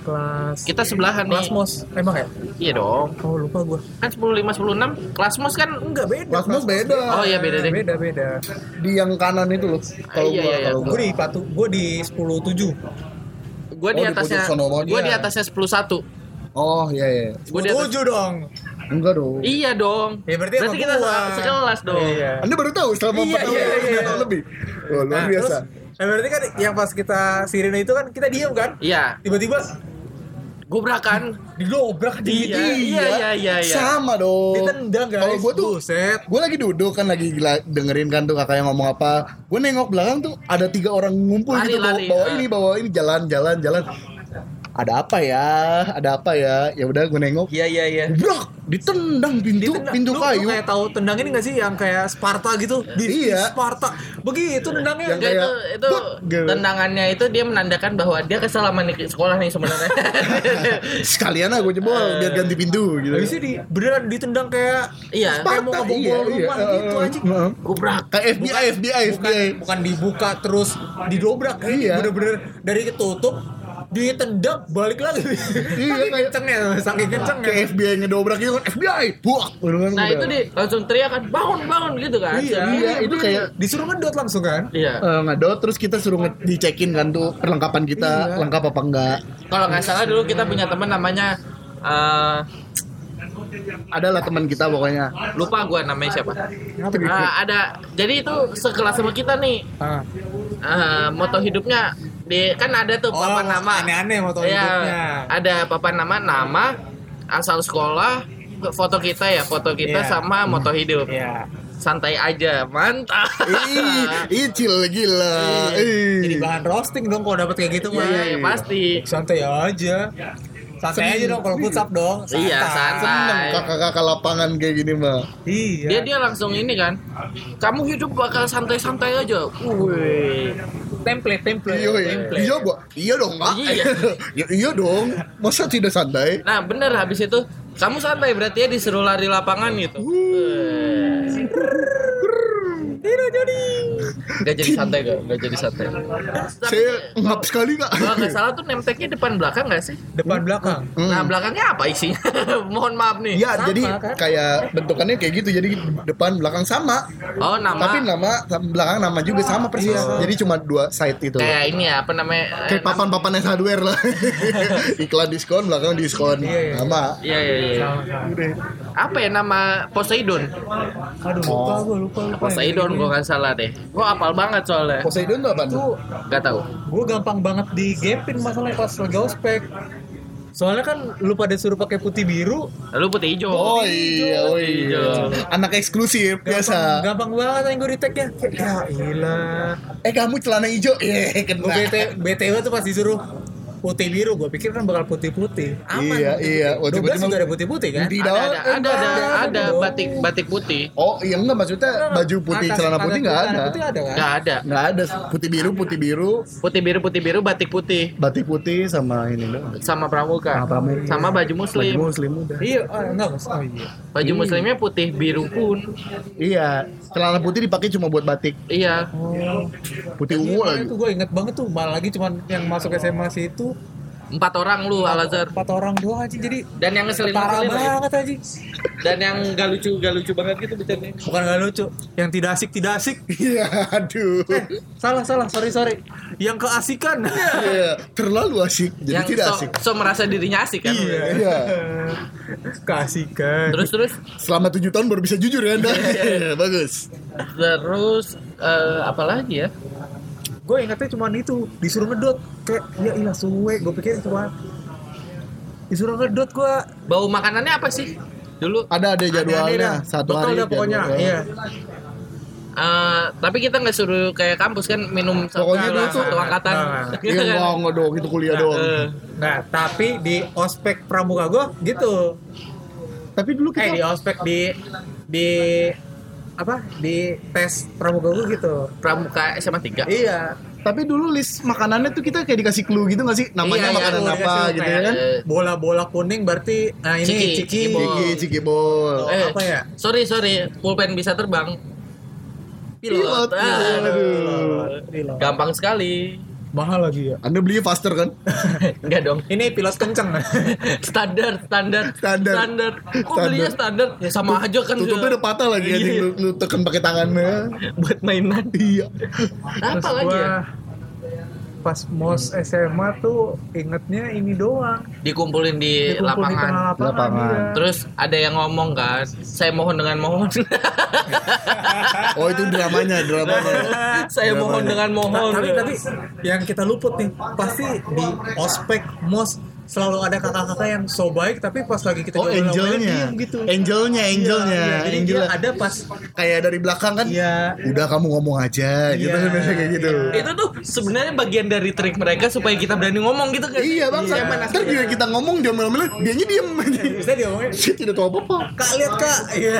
Kelas,
kita sebelahan nih
kelas mos Emang ya?
iya dong
Oh lupa gue
kan 15 16 kelas mos kan
Enggak beda
Kelas mos beda.
Oh, iya, beda deh.
Beda beda
Di yang kanan itu loh Kalau
Iya,
gua,
iya, iya.
kalau gua
Gue di patu, gue di 10-7
gue di
Oh, di
atasnya
pojok sono banget.
gue di
Iya.
atasnya 10 1
Oh iya, iya
gue di atas
10-7 dong
Enggak dong
iya dong
Ya berarti, sama
kita
gua.
se- sekelas dong
Iya
Anda baru tahu selama 4
Iya,
tahun,
iya, iya.
tiga tahun lebih. Wah, luar
Nah,
biasa.
terus, eh, berarti kan yang pas kita sirine itu kan kita diem kan?
iya kan?
Tiba-tiba
gobrakan
digobrak di
Iya, iya, iya, iya, iya.
Sama dong.
ditendang kan guys.
Kalau gue tuh
buset.
gue lagi duduk kan lagi gila- dengerin kan tuh kakaknya ngomong apa gue nengok belakang tuh ada tiga orang ngumpul
Lari,
gitu bawa,
lari,
bawa
ah.
ini bawa ini jalan jalan jalan ada apa ya ada apa ya ya udah gue nengok
iya iya iya
brok ditendang pintu
Ditendang.
pintu
Lu-
kayu
Lu kayak tahu tendang ini gak sih yang kayak Sparta gitu? Di, di
Iya.
Sparta. Begitu tendangnya.
Yang
Enggak, itu
kayak,
itu
"Buk!" gitu.
tendangannya itu dia menandakan bahwa dia kesel sama nih sekolah nih sebenarnya.
sekalian aku
Eh.
jebol biar ganti pintu gitu
Habisnya di beneran ditendang kayak
iya.
kayak mau ngebobol
iya,
rumah gitu, anjing.
Heeh.
Gobrak.
eh, kayak FBI FBI
bukan
FBI
kan bukan dibuka terus didobrak kayak
Iya.
bener-bener dari ketutup ditendang balik lagi.
Iya,
Saking kencengnya, saking ya. kencengnya.
kayak FBI ngedobrak gitu kan FBI buak Gitu kan,
Nah
udah.
itu di langsung teriak kan bangun bangun gitu kan.
Iya,
iya, itu kayak
disuruh ngedot langsung kan?
Iya.
Eh, ngedot terus kita suruh nge- dicekin kan tuh perlengkapan kita
Iya.
lengkap apa enggak
Kalau nggak salah dulu kita punya teman namanya eh,
adalah teman kita pokoknya
lupa gua namanya siapa.
Apa
Eh,
Iya. Ah.
ada jadi itu sekelas sama kita nih
gitu?
eh,
Ah.
moto hidupnya di kan ada tuh
Oh,
papan nama.
aneh-aneh moto
Iya,
hidupnya.
Ada papan nama nama asal sekolah foto kita ya foto kita
Iya.
sama moto hidup.
Iya.
santai aja mantap
ih ih, cil gila ih.
Jadi bahan roasting dong kalau dapat kayak gitu
Iya,
mah.
iya, iya, pasti
Santai aja. Santai aja dong kalau putsap dong.
Iya,
Seneng
santai.
kakak-kakak lapangan kayak gini mah
Iya.
dia dia langsung ini kan kamu hidup bakal santai-santai aja Wih.
template template.
iya iya.
template.
iya gua iya dong kak
Iya.
Ya, iya dong masa tidak santai
nah bener habis itu Eh. kamu santai berarti ya disuruh lari lapangan gitu
Tidak jadi.
Gak jadi santai gak? Gak jadi santai. Tapi
Saya ngap sekali kak.
kalau nggak salah tuh nemteknya depan belakang nggak sih?
Depan belakang.
Hmm.
Nah belakangnya apa isinya? Mohon maaf nih.
Iya,
Sama,
jadi
kan?
kayak bentukannya kayak gitu. Jadi depan belakang sama,
Oh nama.
tapi nama belakang nama juga sama persis. Jadi cuma dua side itu.
kayak ini ya apa namanya?
Kayak
eh,
papan-papan yang hardware lah. Iklan diskon, belakang diskon.
Iya, iya.
Sama.
Iya iya iya. Apa ya nama Poseidon?
Aduh lupa gue lupa lupa.
Poseidon gua nggak salah deh. Gua apal banget soalnya.
Poseidon tuh apa?
Tuh
Gak tahu.
gue gampang banget digepin masalahnya pas lagi ospek. Soalnya kan lu pada suruh pakai putih biru,
Lalu putih hijau.
Oh iya, oh iya. Anak eksklusif biasa.
gampang banget yang gue di tag-nya. Ya ilah.
Eh kamu celana hijau, eh kena.
Gue BT, BTW tuh pas disuruh putih biru, gue pikir kan bakal putih-putih. Aman.
Iya, iya. Oh,
Dua belas
tiba-tiba-
juga ada putih-putih kan?
Putih
Ada
daun.
ada ada ada, ada batik batik putih.
Oh iya enggak maksudnya baju putih
Atas-
celana
atas
putih enggak
celana
ada.
Putih ada kan?
Gak ada.
Enggak ada putih biru, putih biru,
Putih biru putih biru batik putih
batik putih sama ini doang.
sama pramuka
Sama pramuka.
sama baju muslim
Baju muslim udah.
Iya, oh, enggak mas. Oh iya.
baju muslimnya putih biru pun
Iya, celana putih dipakai cuma buat batik.
iya
Putih ungu
Iya,
lagi.
itu gue inget banget tuh, malah lagi cuman yang masuk SMA sih itu
empat orang lu Al Azhar
empat orang doang aja jadi
dan yang ngeselin
parah
ngeselin lagi.
banget aja.
dan yang gak lucu gak lucu banget gitu bercandanya
Bukan gak lucu, yang tidak asik tidak asik.
Iya, aduh.
Eh. Salah salah, sorry sorry. Yang keasikan.
Iya, terlalu asik jadi
yang
tidak
so,
asik.
so merasa dirinya asik kan
Iya.
keasikan.
terus terus
Selama tujuh tahun baru bisa jujur ya Anda. Iya, Bagus.
terus eh, apa lagi ya
gue ingatnya cuma itu disuruh ngedot kayak ya ilah suwe gue pikir cuma disuruh ngedot gue
bau makanannya apa sih dulu
Ada ada
aneh-aneh
jadwalnya
dah.
satu
Total
hari. gitu.
dah pokoknya
jadwal.
iya
eh, tapi kita nggak suruh kayak kampus kan minum satu,
Pokoknya dulu tuh-
satu angkatan
Nah,
Iya,
Gitu kan?
enggak, enggak dong, itu kuliah
Nah,
doang.
eh,
nah tapi di ospek pramuka gue gitu
Tapi dulu
eh di
kita
ospek di di apa di tes pramuka gue gitu
pramuka SMA 3
iya
tapi dulu list makanannya tuh kita kayak dikasih clue gitu nggak sih? Namanya
Iya, iya,
makanan
aku
apa
dikasih
gitu ya kan?
Eh,
bola-bola kuning berarti nah ini
Ciki,
ciki,
ciki.
Ciki, ciki bol.
Oh, apa ya?
Eh, Sorry, sorry. Pulpen bisa terbang.
Pilot,
Pilot.
iya.
Ah,
pilot, aduh.
Gila.
gampang sekali.
mahal lagi ya
Anda belinya faster kan?
Enggak dong.
ini pilot kenceng
Standar, standar,
Standar.
standar. Kok
Standar.
belinya standar? Ya sama aja kan.
Tutupnya udah patah lagi anjing
Iya.
lu, lu tekan pakai tangannya.
buat mainan.
Iya.
Apa lagi ya?
pas mos SMA tuh ingetnya ini doang
Dikumpulin di
Dikumpul di
lapangan.
tengah lapangan,
Lapangan.
iya.
Terus ada yang ngomong kan, saya mohon dengan mohon.
Oh itu dramanya, dramanya.
Nah. saya mohon dengan mohon.
Ta- Nah, tapi tapi yang kita luput nih pasti di ospek mos selalu ada kakak-kakak yang so baik tapi pas lagi kita
Oh
ngobrol-ngobrol,
angelnya,
diem gitu
angelnya, angelnya,
Iya, jadi dia
angelnya.
ada pas
Kayak dari belakang kan?
Iya.
Udah kamu ngomong aja, gitu
Iya,
biasanya kayak gitu.
itu tuh sebenarnya bagian dari trik mereka supaya kita berani ngomong gitu kan.
Iya bang,
Iya.
ntar juga kita ngomong jam malam dianya diem.
bisa dia ngomongin
Shit, tidak tahu apa-apa.
kak lihat kak iya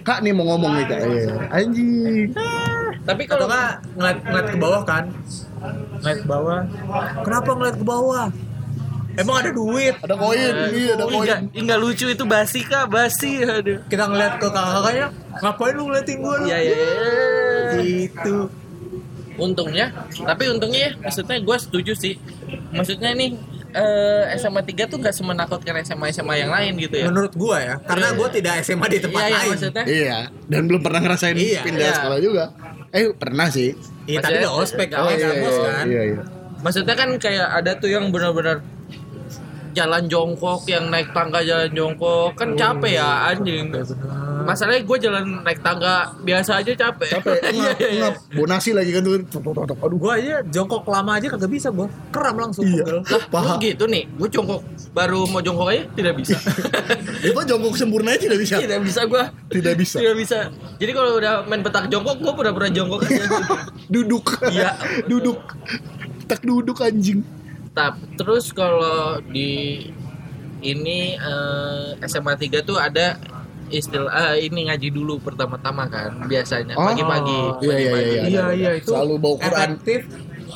Kak nih mau ngomong nih kak, Iya. anjing.
Tapi
atau
kalau
nggak ngeliat, ngeliat ke bawah kan ngeliat ke bawah kenapa ngeliat ke bawah emang ada duit
Ada koin, iya ada
Ih,
koin.
nggak- ih, nggak lucu itu basi kak, basi. Aduh.
kita ngeliat ke kakak-kakaknya ngapain lu ngeliatin gue lu
Iya iya. iya.
gitu
Untungnya, tapi untungnya ya, maksudnya gue setuju sih. Maksudnya nih eh, SMA 3 tuh nggak semenakutkan SMA SMA yang lain gitu ya.
menurut gua ya karena
Iya.
gua tidak SMA di tempat
Iya iya
lain
maksudnya.
Iya, dan belum pernah ngerasain
Iya,
pindah
iya.
sekolah juga. Eh pernah sih.
iya tapi
Maksudnya-
gak ospek
Oh,
kan
iya,
kampus
iya,
kan
iya, iya.
Maksudnya kan kayak ada tuh yang benar-benar jalan jongkok yang naik tangga jalan jongkok
Oh,
kan capek ya anjing masalahnya gue jalan naik tangga biasa aja capek
Capek,
Iya,
ngap,
iya, iya.
ngap. Bonasi lagi kan tuh. Tok, tok, tok, tok. Aduh,
gua aja jongkok lama aja kagak bisa gua keram langsung
Iya.
pegel.
Lah, lu
Paha.
gitu nih gue jongkok baru mau jongkok aja tidak bisa
itu jongkok sempurna aja tidak bisa.
tidak bisa gue
Tidak bisa.
tidak bisa jadi kalau udah main petak jongkok gue pura-pura jongkok aja
Duduk.
Iya.
duduk. Tak duduk anjing.
Tap, terus kalau di ini eh, SMA 3 tuh ada istilah eh, ini ngaji dulu pertama-tama kan biasanya
Oh.
pagi-pagi
Iya, iya, iya,
pagi-pagi.
iya.
iya iya itu
Selalu bawa Quran.
efektif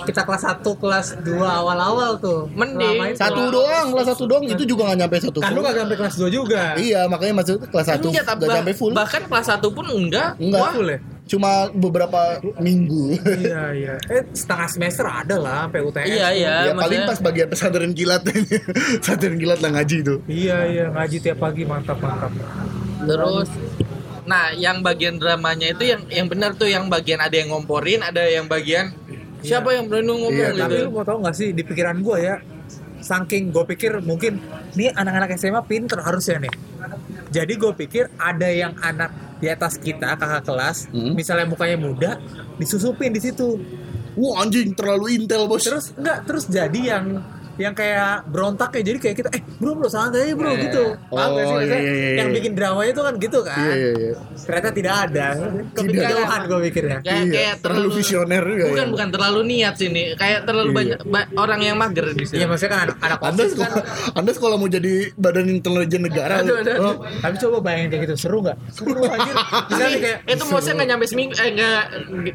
kita kelas 1 kelas 2 awal-awal tuh
Mending.
Selama itu.
Satu doang, kelas satu doang itu juga nggak nyampe satu
kan lu
full.
kagak sampai kelas 2 juga
Iya, makanya maksudnya kelas satu
Enggak,
nggak
bah-
nyampe full.
bahkan kelas 1 pun enggak
Enggak.
Wah,
Full ya?
cuma beberapa minggu.
iya iya eh setengah semester ada lah sampai UTS
iya iya
ya
maksudnya
paling pas bagian pesantren kilat pesantren kilat lah ngaji itu
iya iya ngaji tiap pagi mantap mantap
Gitu.
terus nah yang bagian dramanya itu yang yang benar tuh yang bagian ada yang ngomporin ada yang bagian siapa yang berani ngomong
Iya,
gitu
tapi lu mau tau gak sih di pikiran gue ya saking gue pikir mungkin nih anak-anak SMA pinter harusnya nih jadi gue pikir ada yang anak di atas kita kakak kelas
Hmm.
misalnya mukanya muda disusupin di situ
wah anjing terlalu intel bos
terus enggak terus jadi yang yang kayak berontak ya jadi kayak kita eh bro bro santai aja, bro
Iya.
gitu paham gak sih
Oh, iya,
Maksudnya
iya, iya.
yang bikin dramanya tuh kan gitu kan
iya iya iya
ternyata tidak ada kebincangan gue pikirnya
kayak
Iya,
kayak
terlalu visioner juga
bukan
ya.
bukan terlalu niat sini kayak terlalu
Iya.
banyak ba- orang yang mager di sini
Iya maksudnya kan anak, anak
anda
osis kan
sekolah anda sekolah mau jadi badan intelijen negara
Aduh, aduh, aduh.
Oh,
Tapi coba bayangin kayak gitu seru nggak? Seru anjir. Misalnya kayak
itu maksudnya nggak nyampe seminggu eh nggak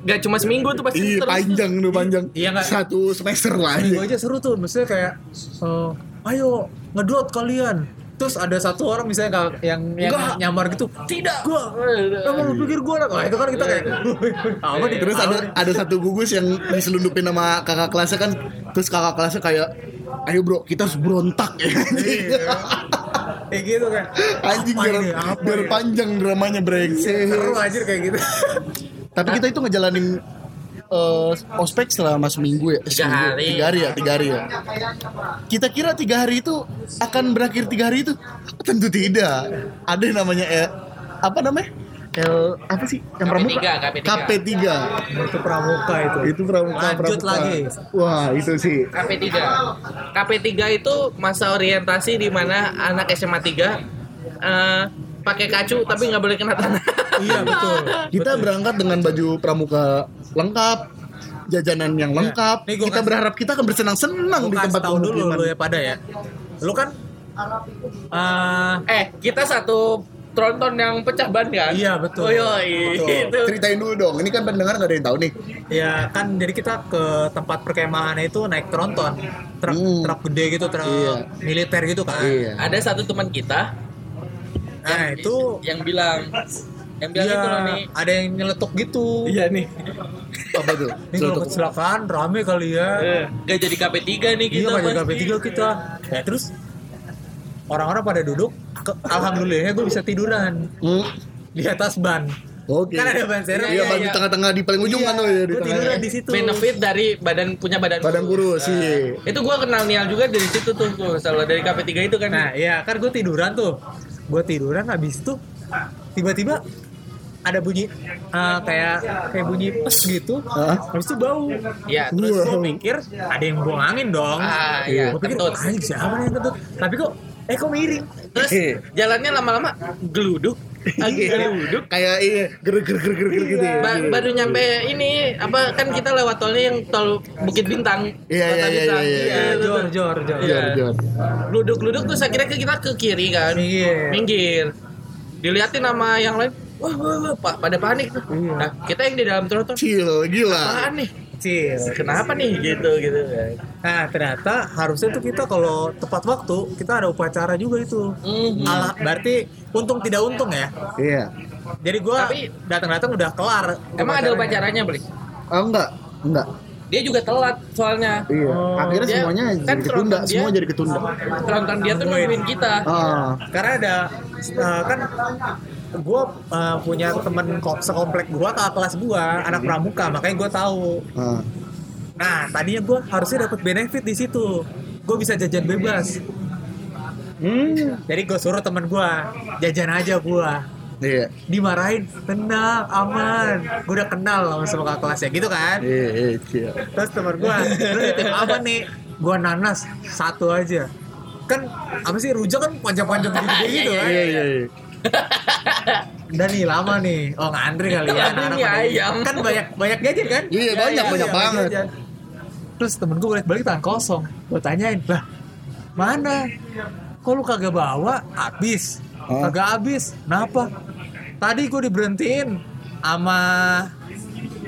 nggak cuma seminggu tuh pasti
Ih,
terus
Iya,
Iya,
panjang tuh panjang.
Iya, nggak?
Satu semester lah. iya.
gue aja seru tuh. Maksudnya kayak eh, ayo ngedot kalian. Terus ada satu orang misalnya nggak- yang yang
Nggak.
nyamar gitu. Tidak. Gua emang lu pikir gua anak? Wah, itu kan kita kayak apa nih?
Terus ada ada satu gugus yang diselundupin sama kakak kelasnya kan. Terus kakak kelasnya kayak ayo bro kita harus berontak ya anjing.
Iya.
kayak gitu kan.
anjing
Apa
biar,
ini? Apa
biar
ini? Iya,
panjang dramanya brengsek
Seru anjir kayak gitu.
tapi kita itu ngejalanin eh, ospek selama seminggu ya
Tiga
Seminggu.
hari.
tiga hari ya tiga hari ya kita kira tiga hari itu akan berakhir tiga hari itu tentu tidak ada yang namanya eh, apa namanya L apa sih yang
KP3,
pramuka
KP3.
KP3
Itu pramuka itu.
itu pramuka
Lanjut
pramuka.
lagi.
wah itu sih
KP3 KP3 itu masa orientasi di mana anak SMA 3 eh, pakai kacu tapi nggak boleh kena tanah
Iya betul.
kita berangkat dengan baju pramuka lengkap jajanan yang lengkap
Iya. Nih, gua
kita
kasih-
berharap kita akan bersenang-senang
Lu
di
kasih
tempat
tahu dulu
pemukiman.
lu ya pada ya. Lu kan eh
eh kita satu tronton yang pecah ban kan
Iya, betul.
oh, yoi.
Tuh,
itu
Iya, ceritain dulu dong ini kan pendengar gak ada yang tahu nih
Ya kan jadi kita ke tempat perkemahan itu naik tronton truk
Hmm.
truk gede gitu truk
Iya.
militer gitu kan.
ada satu teman kita
Nah itu
yang bilang yang bilang
iya,
itu Iya, loh nih
ada yang nyeletuk gitu.
nih
apa tuh
Ini kalau kecelakaan rame kali ya.
Iya.
nggak jadi KP3 nih
Iya
Iya, kita
kan
pasti.
KP 3 kita. Ya terus orang-orang pada duduk ke- alhamdulillahnya gue bisa tiduran
Hmm,
di atas ban.
Oke.
Kan ada ban serep.
Iya,
Iya, ban
iya.
di tengah-tengah di paling ujung kan tuh ya di
gue
tengah.
tiduran di situ.
benefit dari badan punya badan Nah,
Badan kurus
Iya.
iya. sih.
itu gua kenal Nial juga dari situ tuh tuh salah dari KP3 itu kan
Nah, iya kan gue tiduran tuh. Gue tiduran habis itu tiba-tiba ada bunyi eh, kayak kayak bunyi pes gitu.
Hah?
Habis itu bau. Nah,
ya
Terus
Wah.
gue mikir ada yang buang angin dong.
Ah, iya,
Gue pikir
kentut. Iya,
"Anjing, siapa nih yang kentut? Tapi kok eh kok miring.
terus jalannya lama-lama geluduk lagi geluduk
Kayak iya, ger ger ger ger ger gitu. ya.
Ba- Iya, baru nyampe ini apa kan kita lewat tolnya yang tol Bukit Bintang
Iya,
Kota
iya, iya,
Bintang.
iya, iya.
itu tuh.
jor jor jor.
Iya.
Jor, jor.
geluduk geluduk terus akhirnya ke- kita ke kiri kan
Iya.
Minggir.
minggir diliatin sama yang lain wah wah, wah, pa- pada panik tuh
Iya.
nah kita yang di dalam trotoar
Chill, gila.
apaan nih
Cil.
kenapa nih gitu gitu kan
Nah, ternyata harusnya tuh kita kalau tepat waktu kita ada upacara juga itu.
Mhm.
Hmm.
Alah, berarti untung tidak untung ya.
Iya.
Jadi gua
Tapi-
datang-datang udah kelar.
Emang ada upacaranya,
upacaranya.
Beli?
Ah enggak, enggak.
Dia juga telat soalnya.
Iya.
Oh.
Akhirnya
Dia-
semuanya
kan
jadi ketunda,
tronton dia- Oh.
semua jadi ketunda.
Tronton dia
Iya.
tuh nungguin kita.
Ah,
karena ada uh, kan gue punya temen ko- sekomplek gue kakak kelas gue anak pramuka makanya gue tahu
ah.
nah tadinya gue harusnya dapat benefit di situ gue bisa jajan bebas
Hmm.
jadi gue suruh temen gue jajan aja gue
Iya.
dimarahin tenang aman gue udah kenal sama sama kakak kelasnya gitu kan
Iya, iya, chill.
terus temen gue lu nitip apa nih gue nanas satu aja kan apa sih rujak kan panjang-panjang gitu gitu kan
Iya, iya, iya.
Udah nih lama nih. Oh ngantri kali ya.
Lama
anak-anak
nih
pada-
ayam.
Kan banyak banyak jajan kan?
Iya, banyak banyak
Iya,
banget.
jajan. Terus temen gue balik balik tangan kosong. Gue tanyain lah mana? Kok lu kagak bawa? Abis.
Hah?
Kagak abis. Kenapa? Tadi gue diberhentiin sama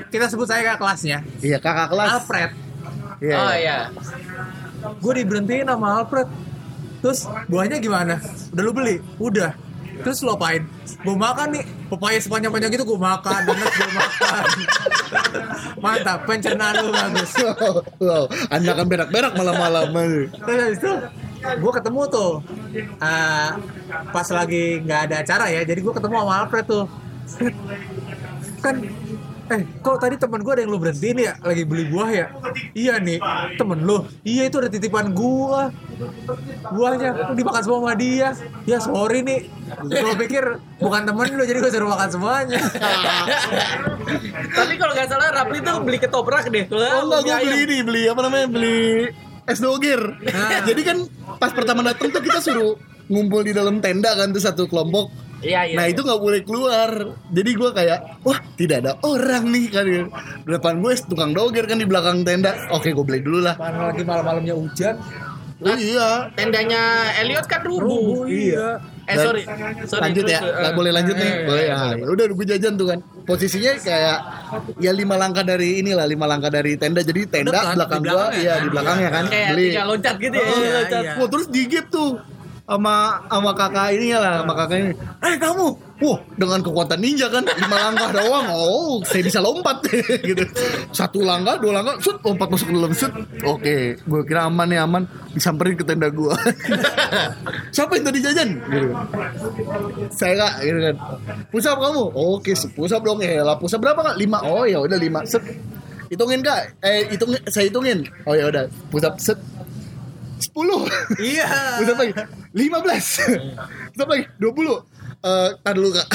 kita sebut saya kakak kelasnya
Iya, kakak kelas.
Alfred
Iya.
Oh
iya.
iya.
gue diberhentiin sama Alfred terus buahnya gimana udah lu beli udah Terus lo apain? Gue makan nih, pepaya sepanjang-panjang gitu gue makan, donat gue makan. Mantap, pencernaan lo bagus.
wow, anda akan berak-berak malam-malam.
Terus habis itu gue ketemu tuh eh, pas lagi nggak ada acara ya, jadi gue ketemu sama Alfred tuh. Fred, Kan Eh, kok tadi temen gue ada yang lu berhentiin ya? Lagi beli buah ya? Iya nih, temen lu. Iya itu ada titipan gua. Buahnya dimakan semua sama dia. Ya sorry nih. Gue pikir bukan temen lu jadi gue suruh makan semuanya.
Tapi kalau nggak salah Rapli tuh beli ketoprak deh.
Oh enggak, gue beli ini, beli apa namanya, beli es doger.
Ah.
Jadi kan pas pertama datang tuh kita suruh ngumpul di dalam tenda kan tuh satu kelompok.
Iya iya.
nah itu nggak boleh keluar. Jadi gue kayak, wah tidak ada orang nih kan. Di Depan gue tukang doger kan di belakang tenda. Oke gue beli dulu lah.
Mana lagi malam-malamnya hujan.
Oh, iya.
Tendanya Elliot kan rubuh.
Rubuh, iya.
Eh
Dan-
sorry, sorry.
lanjut ya,
terus, eh,
nggak boleh lanjut nih.
eh,
boleh ya. Udah gue jajan tuh kan. Posisinya kayak ya lima langkah dari inilah, lima langkah dari tenda. Jadi tenda
Dekat, di
belakang gua,
belakangnya
iya
kan.
di belakangnya kan.
Kayak
Beli.
tiga loncat gitu ya.
Oh,
Iya,
loncat.
iya.
Wah, terus digigit tuh sama sama kakak ini lah, sama kakak ini. Eh kamu, wah dengan kekuatan ninja kan lima langkah doang. Oh, saya bisa lompat gitu. Satu langkah, dua langkah, shoot lompat masuk ke dalam shoot. Oke, gue kira aman nih aman. Disamperin ke tenda gua. Siapa yang tadi jajan? Gitu. Saya kak, gitu kan. Pusap kamu? Oke, pusap dong ya. Lah pusap berapa kak? Lima. Oh ya udah lima. Set. Hitungin kak. Eh hitung, saya hitungin. Oh ya udah. Pusap set. Sepuluh.
Iya.
Ustaz lagi 15 Ustaz lagi 20 Eh, tar dulu kak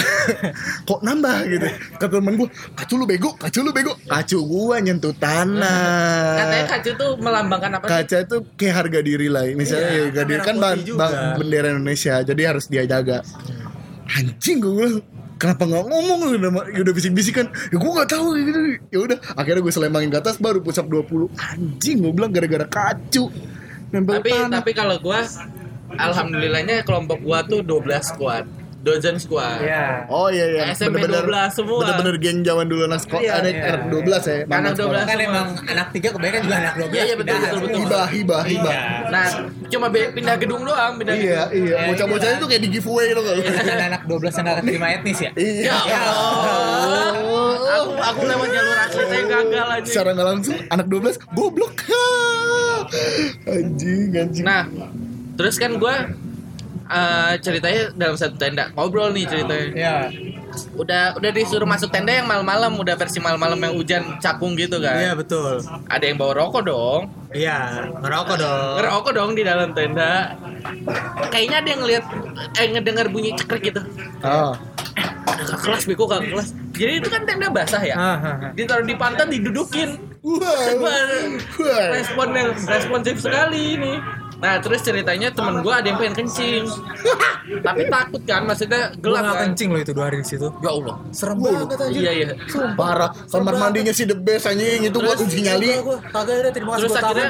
Kok nambah gitu Kata temen gue Kacu lu bego Kacu lu bego Kacu gua nyentuh tanah
Katanya kacu tuh melambangkan apa sih?
Kaca itu kayak harga diri lah Misalnya
Iya,
ya, harga diri
merah
Kan bahan-
putih
bahan
juga.
bendera Indonesia Jadi harus dia jaga Anjing gue bilang Kenapa nggak ngomong lu nama- ya udah bisik-bisik kan ya gue nggak tahu ya gitu ya udah akhirnya gue selembangin ke atas baru pusap 20 anjing gue bilang gara-gara kacu nempel
Tapi
tanah.
tapi kalau gua alhamdulillahnya kelompok gua tuh 12 squad. Dozen squad.
Iya.
Oh iya iya.
SMP 12
Bener-bener-
semua.
Bener-bener geng zaman dulu anak sekolah.
Iya,
anak
iya.
anak 12 ya. bangga
Anak
sekolah.
Kan emang anak tiga kebanyakan juga anak dua
Iya, iya, betul, betul, betul.
Hibah hibah hibah.
Nah, cuma be- pindah gedung doang, pindah
Iya
gedung.
iya.
Iya,
Bocah-bocahnya
iya.
tuh kayak di giveaway loh kalau.
anak 12 yang gak keterima etnis ya?
Iya.
Iya. Ya Allah. Aku aku lewat jalur asli saya gagal aja.
Secara nggak langsung anak 12 goblok. anjing anjing.
Nah, terus kan gua eh, ceritanya dalam satu tenda ngobrol nih ceritanya.
Iya.
Udah udah disuruh masuk tenda yang malam-malam, udah versi malam-malam yang hujan cakung gitu
Iya
kan.
betul.
Ada yang bawa rokok dong.
Iya, ngerokok dong.
Ngerokok dong di dalam tenda. Kayaknya ada yang ngeliat eh ngedengar bunyi cekrek gitu.
Iya. Oh.
Ah.
Ada kakak kelas beko kakak kelas. Jadi itu kan tenda basah ya.
Ah, ah, ah.
Ditaruh di pantat didudukin.
Wow.
Wah,
Wah.
respon yang responsif sekali ini nah terus ceritanya temen gue ada yang pengen kencing tapi takut kan maksudnya
Gua
gelap
gak
kan
kencing lo itu dua hari di situ.
ya Allah
Serem
Gua
banget
lu-
anjir.
iya iya
Parah. Kamar mandinya sih the best anjing itu gua kunci nyali.
Gua- gua Kagak ada terima kasih
terus
buat
akhirnya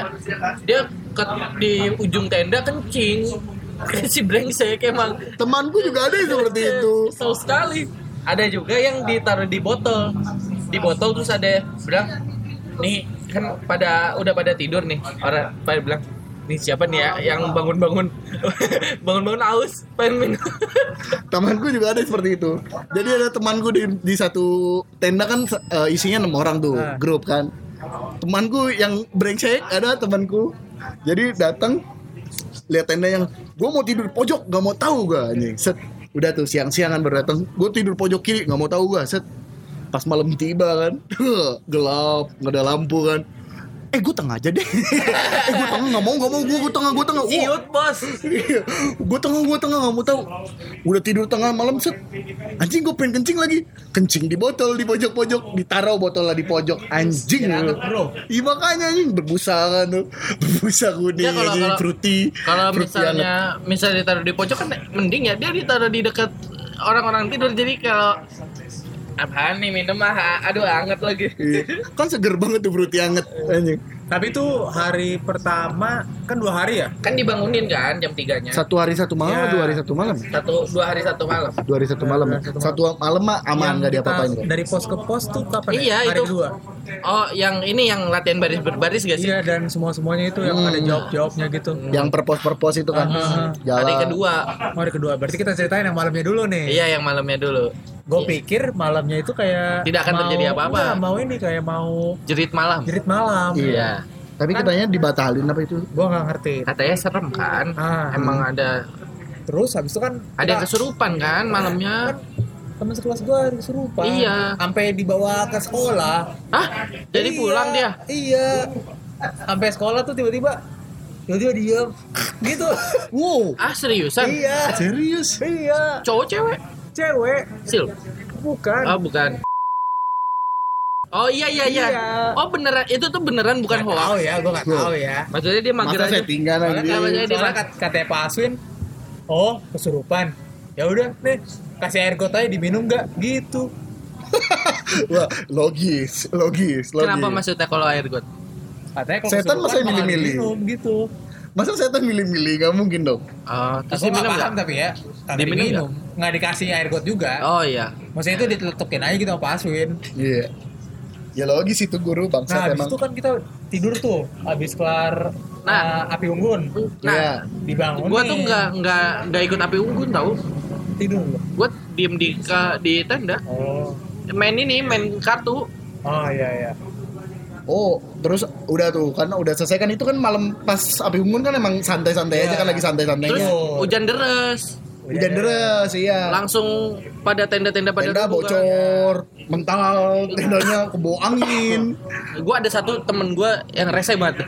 dia ke, di ujung tenda kencing si brengsek emang
Temanku juga ada yang seperti itu.
Kesel sekali ada juga yang ditaruh di botol di botol terus ada bilang nih kan pada udah pada tidur nih orang pada bilang nih siapa nih ya yang bangun-bangun bangun-bangun aus pengen minum
temanku juga ada seperti itu jadi ada temanku di, di satu tenda kan eh, isinya enam orang tuh
Ah.
grup kan temanku yang brengsek ada temanku jadi datang lihat tenda yang gue mau tidur pojok gak mau tahu gue anjing set udah tuh siang-siangan baru datang gue tidur pojok kiri gak mau tahu gue set pas malam tiba kan gelap nggak ada lampu kan eh gue tengah aja deh eh gue tengah nggak mau nggak mau gue tengah gue tengah Wah,
Ciut bos.
gue Iya. tengah gue tengah nggak mau tahu udah tidur tengah malam set anjing gue pengen kencing lagi kencing di botol di pojok pojok ditaruh botolnya di pojok anjing
Kirain, bro.
iya makanya anjing berbusa kan tuh berbusa kuning
Ya, kalau-
anjing
kalau-
fruity
Kalau
Fruity banget.
misalnya misalnya ditaruh di pojok kan mending ya dia ditaruh di dekat orang-orang tidur jadi kalau apaan nih minum ah aduh anget lagi.
Iya. kan seger banget tuh fruity anget
Iya.
anjing
Tapi itu hari pertama kan dua hari ya?
Kan dibangunin kan jam 3-nya.
satu hari satu malam
Ya.
dua hari satu malam
Satu dua hari satu malam.
dua hari satu malam
Dua hari satu malam.
satu malam mah aman
Yang
nggak
kita
diapa-apain kok.
Dari pos ke pos tuh kapan? ya?
Iya
hari
itu
kedua.
Oh, yang ini yang latihan baris berbaris gak sih?
Iya dan semua semuanya itu yang ada
Hmm.
jawab jawabnya gitu.
Yang perpos-perpos itu kan. Jalan.
Hari kedua.
Hari kedua berarti kita ceritain yang malamnya dulu nih.
Iya, yang malamnya dulu.
Gue pikir malamnya itu
Iya.
kayak
Tidak akan
mau-
terjadi apa-apa.
Enggak, mau ini kayak mau
Jerit malam.
jerit malam.
Iya. Tapi katanya dibatalin apa itu?
Gue nggak ngerti.
Katanya serem kan?
Ah.
Emang ada
Terus habis itu kan
ada yang
kita-
kesurupan kan malamnya?
teman sekelas gue kesurupan.
Iya.
Sampai dibawa ke sekolah.
Hah? Jadi
Iya,
pulang dia.
Iya. Sampai sekolah tuh tiba-tiba tiba-tiba diem gitu.
Wow.
Ah, seriusan?
iya.
Serius?
Iya.
Cowok cewek?
Cewek
Sil.
bukan.
Oh, bukan. Oh iya iya iya.
Iya.
Oh beneran itu tuh beneran bukan
Nggak tahu
hoax.
ya, gue gak tahu ya.
Maksudnya dia mager
Masa
aja.
settingan aja.
Soalnya
Iya,
kan-
iya, iya.
soalnya kat- katanya Pak Aswin, oh kesurupan. Ya udah, nih kasih air got aja diminum nggak? Gitu.
Wah, logis, logis, logis.
Kenapa maksudnya kalau air got?
Katanya kalau
Setan masa
kesurupan malah
milih-milih?
diminum gitu.
Masa setan milih-milih? Gak mungkin dong.
Oh, terus
Tapi
diminum
nggak
nggak?
paham tapi ya, kagak
Diminum
diminum, nggak dikasih air got juga.
Oh iya.
Maksudnya itu ditetukin aja gitu sama Pak Aswin.
Iya. Ya logis itu guru bangsa
Nah, habis
emang.
itu kan kita tidur tuh, habis kelar
Nah.
uh, api unggun.
Iya.
Nah,
Dibangun
gua
nih,
tuh nggak nggak nggak ikut api unggun tau.
tidur. loh.
Gua diem di ka- di tenda.
Oh.
Main ini main kartu.
Oh iya iya.
Oh, terus udah tuh karena udah selesai kan itu kan malam pas api unggun kan emang santai-santai aja
Iya.
kan lagi
Terus
santai-santainya.
Iya.
hujan deras.
Hujan deres, iya.
Langsung pada tenda-tenda pada Iya.
Tenda
terbuka.
bocor, mental, tendanya kebawa angin.
gue ada satu temen gue yang rese banget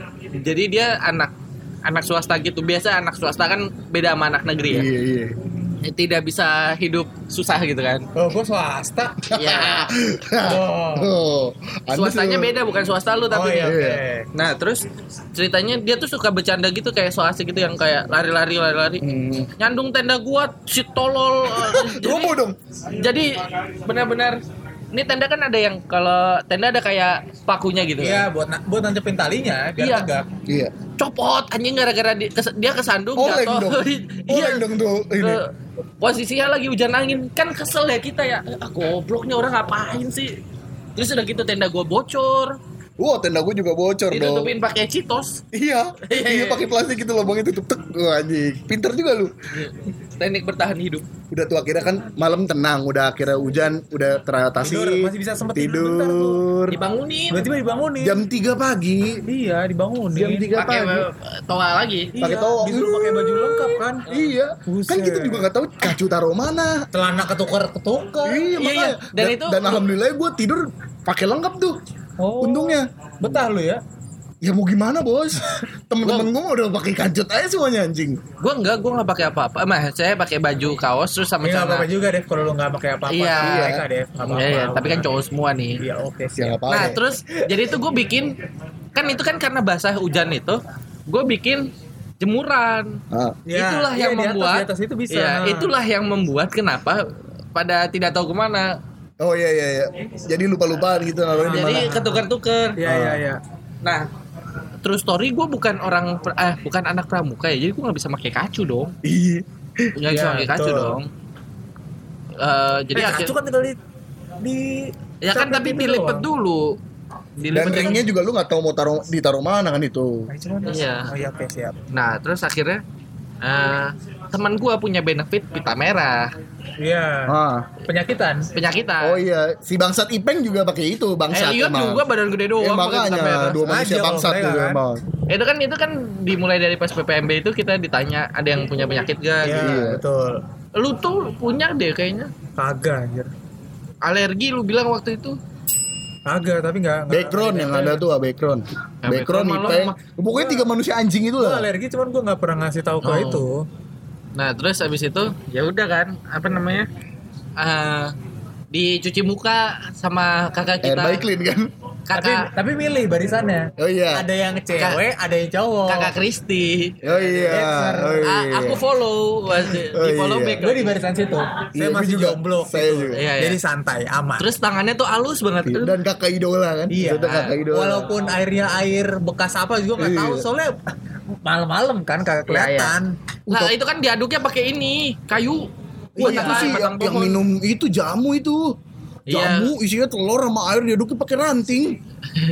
jadi dia anak anak swasta gitu biasa anak swasta kan beda sama anak negeri ya
Iya, iya.
tidak bisa hidup susah gitu kan
Oh, gua swasta.
ya
Oh.
Oh, Anda
swastanya
tuh-
beda bukan swasta lu
Oh
tapi
iya, oke.
Iya.
nah terus ceritanya dia tuh suka bercanda gitu kayak so asik gitu yang kayak lari-lari lari-lari
Hmm.
nyandung tenda gua si tolol
Robo dong.
jadi benar-benar ini tenda kan ada yang kalau tenda ada kayak pakunya gitu ya
Iya, buat na- buat nancepin talinya biar
Iya.
tegak.
Iya.
copot anjing gara-gara di- kes- dia kesandung
Oleng
jatuh.
dong.
Iya.
Oleng dong tuh ini.
Ke- posisinya lagi hujan angin kan kesel ya kita ya ah, goblok nih orang ngapain sih terus udah gitu tenda gua bocor
Wah, tenda gue juga bocor dong.
ditutupin pakai citos
Iya,
Iya,
iya
iya.
pakai plastik gitu lubangnya tutup tek. Wah, anjing. Pinter juga lu.
teknik bertahan hidup
Udah tuh akhirnya kan malam tenang, udah akhirnya hujan, udah teratasi.
Tidur, masih bisa sempet tidur bentar
tidur.
dibangunin
Tiba-tiba dibangunin.
Jam 3 pagi.
iya, dibangunin.
Jam 3
pakai
pagi.
eh, toa lagi
Iya,
pakai towel.
disuruh pakai baju lengkap kan.
Iya. Kan
Buset.
kita juga nggak tahu kacu taruh mana.
Celana ketukar-ketukar.
Iya,
Iya,
makanya.
iya. Dan itu-
dan alhamdulillah gue tidur pakai lengkap tuh.
Oh.
Untungnya.
Betah lu ya?
Ya mau gimana bos? Temen-temen gue udah pakai kancut aja semuanya anjing.
gua enggak gua nggak pakai apa-apa Eh, mah saya pakai baju kaos terus sama
Iya,
celana
apa-apa juga deh kalau lu nggak pakai apa-apa.
Iya.
Mereka deh, apa-apa.
Iya, iya, tapi kan cowok semua nih
Iya, oke sih.
Ya nggak apa-apa.
nah terus jadi itu gue bikin kan itu kan karena basah hujan itu gue bikin jemuran
Ah.
itulah yang membuat
Di atas itu bisa.
Iya, itulah yang membuat kenapa pada tidak tahu kemana
Oh iya iya iya. Jadi lupa-lupaan gitu naruhnya di
jadi
mana.
ketukar-tukar
Iya, iya, iya.
nah true story gue bukan orang pra- eh bukan anak pramuka ya jadi gue nggak bisa pakai kacu dong
Iya.
nggak bisa
Iya,
pakai kacu
betul.
dong Eh, jadi
Eh,
akhir-
kacu kan tinggal di di
ya kan tapi
Capek gitu
dilipet
doang.
dulu
Dan
dilipet
ringnya juga lu nggak tahu mau taruh ditaruh mana kan itu.
Nah, cuman-
Iya.
Oh iya, oke siap.
nah terus akhirnya eh teman gue punya benefit pita merah
Iya.
Ah.
Penyakitan.
penyakitan
Oh iya, si bangsat Ipeng juga pakai itu bangsat
Eh, iya juga badan gede doang
Ya,
pakai pita merah.
makanya dua manusia
Sengaja kalau
bangsat
mereka
juga
kan.
emang.
itu kan itu kan dimulai dari pas PPMB itu kita ditanya ada yang punya penyakit gak
Iya,
Iya.
betul.
lu tuh punya deh kayaknya
Kagak anjir.
alergi lu bilang waktu itu
Kagak, tapi nggak nggak-
Background yang ada tuh ah, background.
Ya,
background
background malah
Ipeng.
mah-
Pokoknya tiga manusia anjing itu
Gue
lah.
alergi cuman gue nggak pernah ngasih tahu ke
Oh.
itu.
nah terus abis itu ya udah kan apa namanya Eh dicuci muka sama kakak
Air
kita
baik clean kan.
Tapi
kakak
tapi milih barisannya.
Oh iya.
Ada yang cewek, ada yang cowok.
kakak Kristi
Oh iya. Oh,
A-
iya.
Ah, aku follow masih-
Oh,
di follow
iya.
back kan.
Gue di barisan situ.
Iya,
saya
gue
masih
juga.
jomblo.
Saya
gitu.
juga. Iya.
Iya, iya.
Jadi santai, aman.
terus tangannya tuh halus banget
Dan kakak idola kan.
Iya.
Maksudnya
Ah,
kakak idola.
Walaupun airnya air bekas apa juga nggak
Iya.
tahu soalnya malam-malam kan kagak kelihatan.
nah Iya, itu kan diaduknya pakai ini kayu
Wah,
Batang-
Iya, itu
Iya
sih yang,
kan, batang
yang
pohon.
minum itu jamu itu.
Iya.
jamu isinya telur sama air diaduknya pakai ranting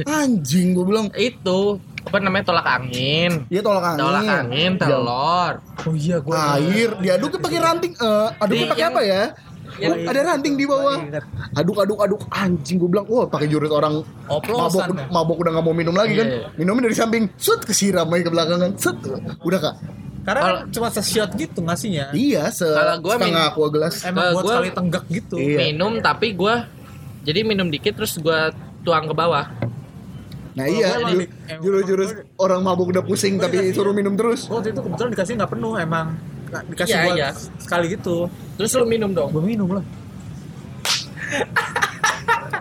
anjing gue bilang
itu apa namanya tolak angin
Iya tolak angin. Iya.
tolak angin telur
oh iya
Ah,
gue
Air diaduknya pakai ranting. Eh, aduknya
Di-
pakai apa ya?
Iya, yang- Iya,
Oh, ada ranting di bawah. Aduk aduk aduk anjing gue bilang, wah pakai jurus orang mabok
Oplosan, ya?
mabok udah nggak mau minum lagi kan.
Iya, iya.
Minumnya dari samping, set kesiram aja ke belakangan, set. Udah kak?
karena
Kalau-
cuma se-shot gitu ngasihnya
Iya, se
Kalau gua
setengah
min-
aqua gelas.
emang
Kalau
buat
gua-
sekali tenggak gitu
Iya.
minum tapi gua jadi minum dikit terus gua tuang ke bawah
Nah
Kalau
iya,
gua
ju-
emang-
jurus-jurus orang mabok udah pusing
Gua
tapi
Iya.
dikasih-
suruh minum terus.
Gua waktu itu kebetulan dikasih nggak penuh emang Nah, dikasih
Iya,
buat
iya.
sekali gitu
terus lu minum dong
gue minum lah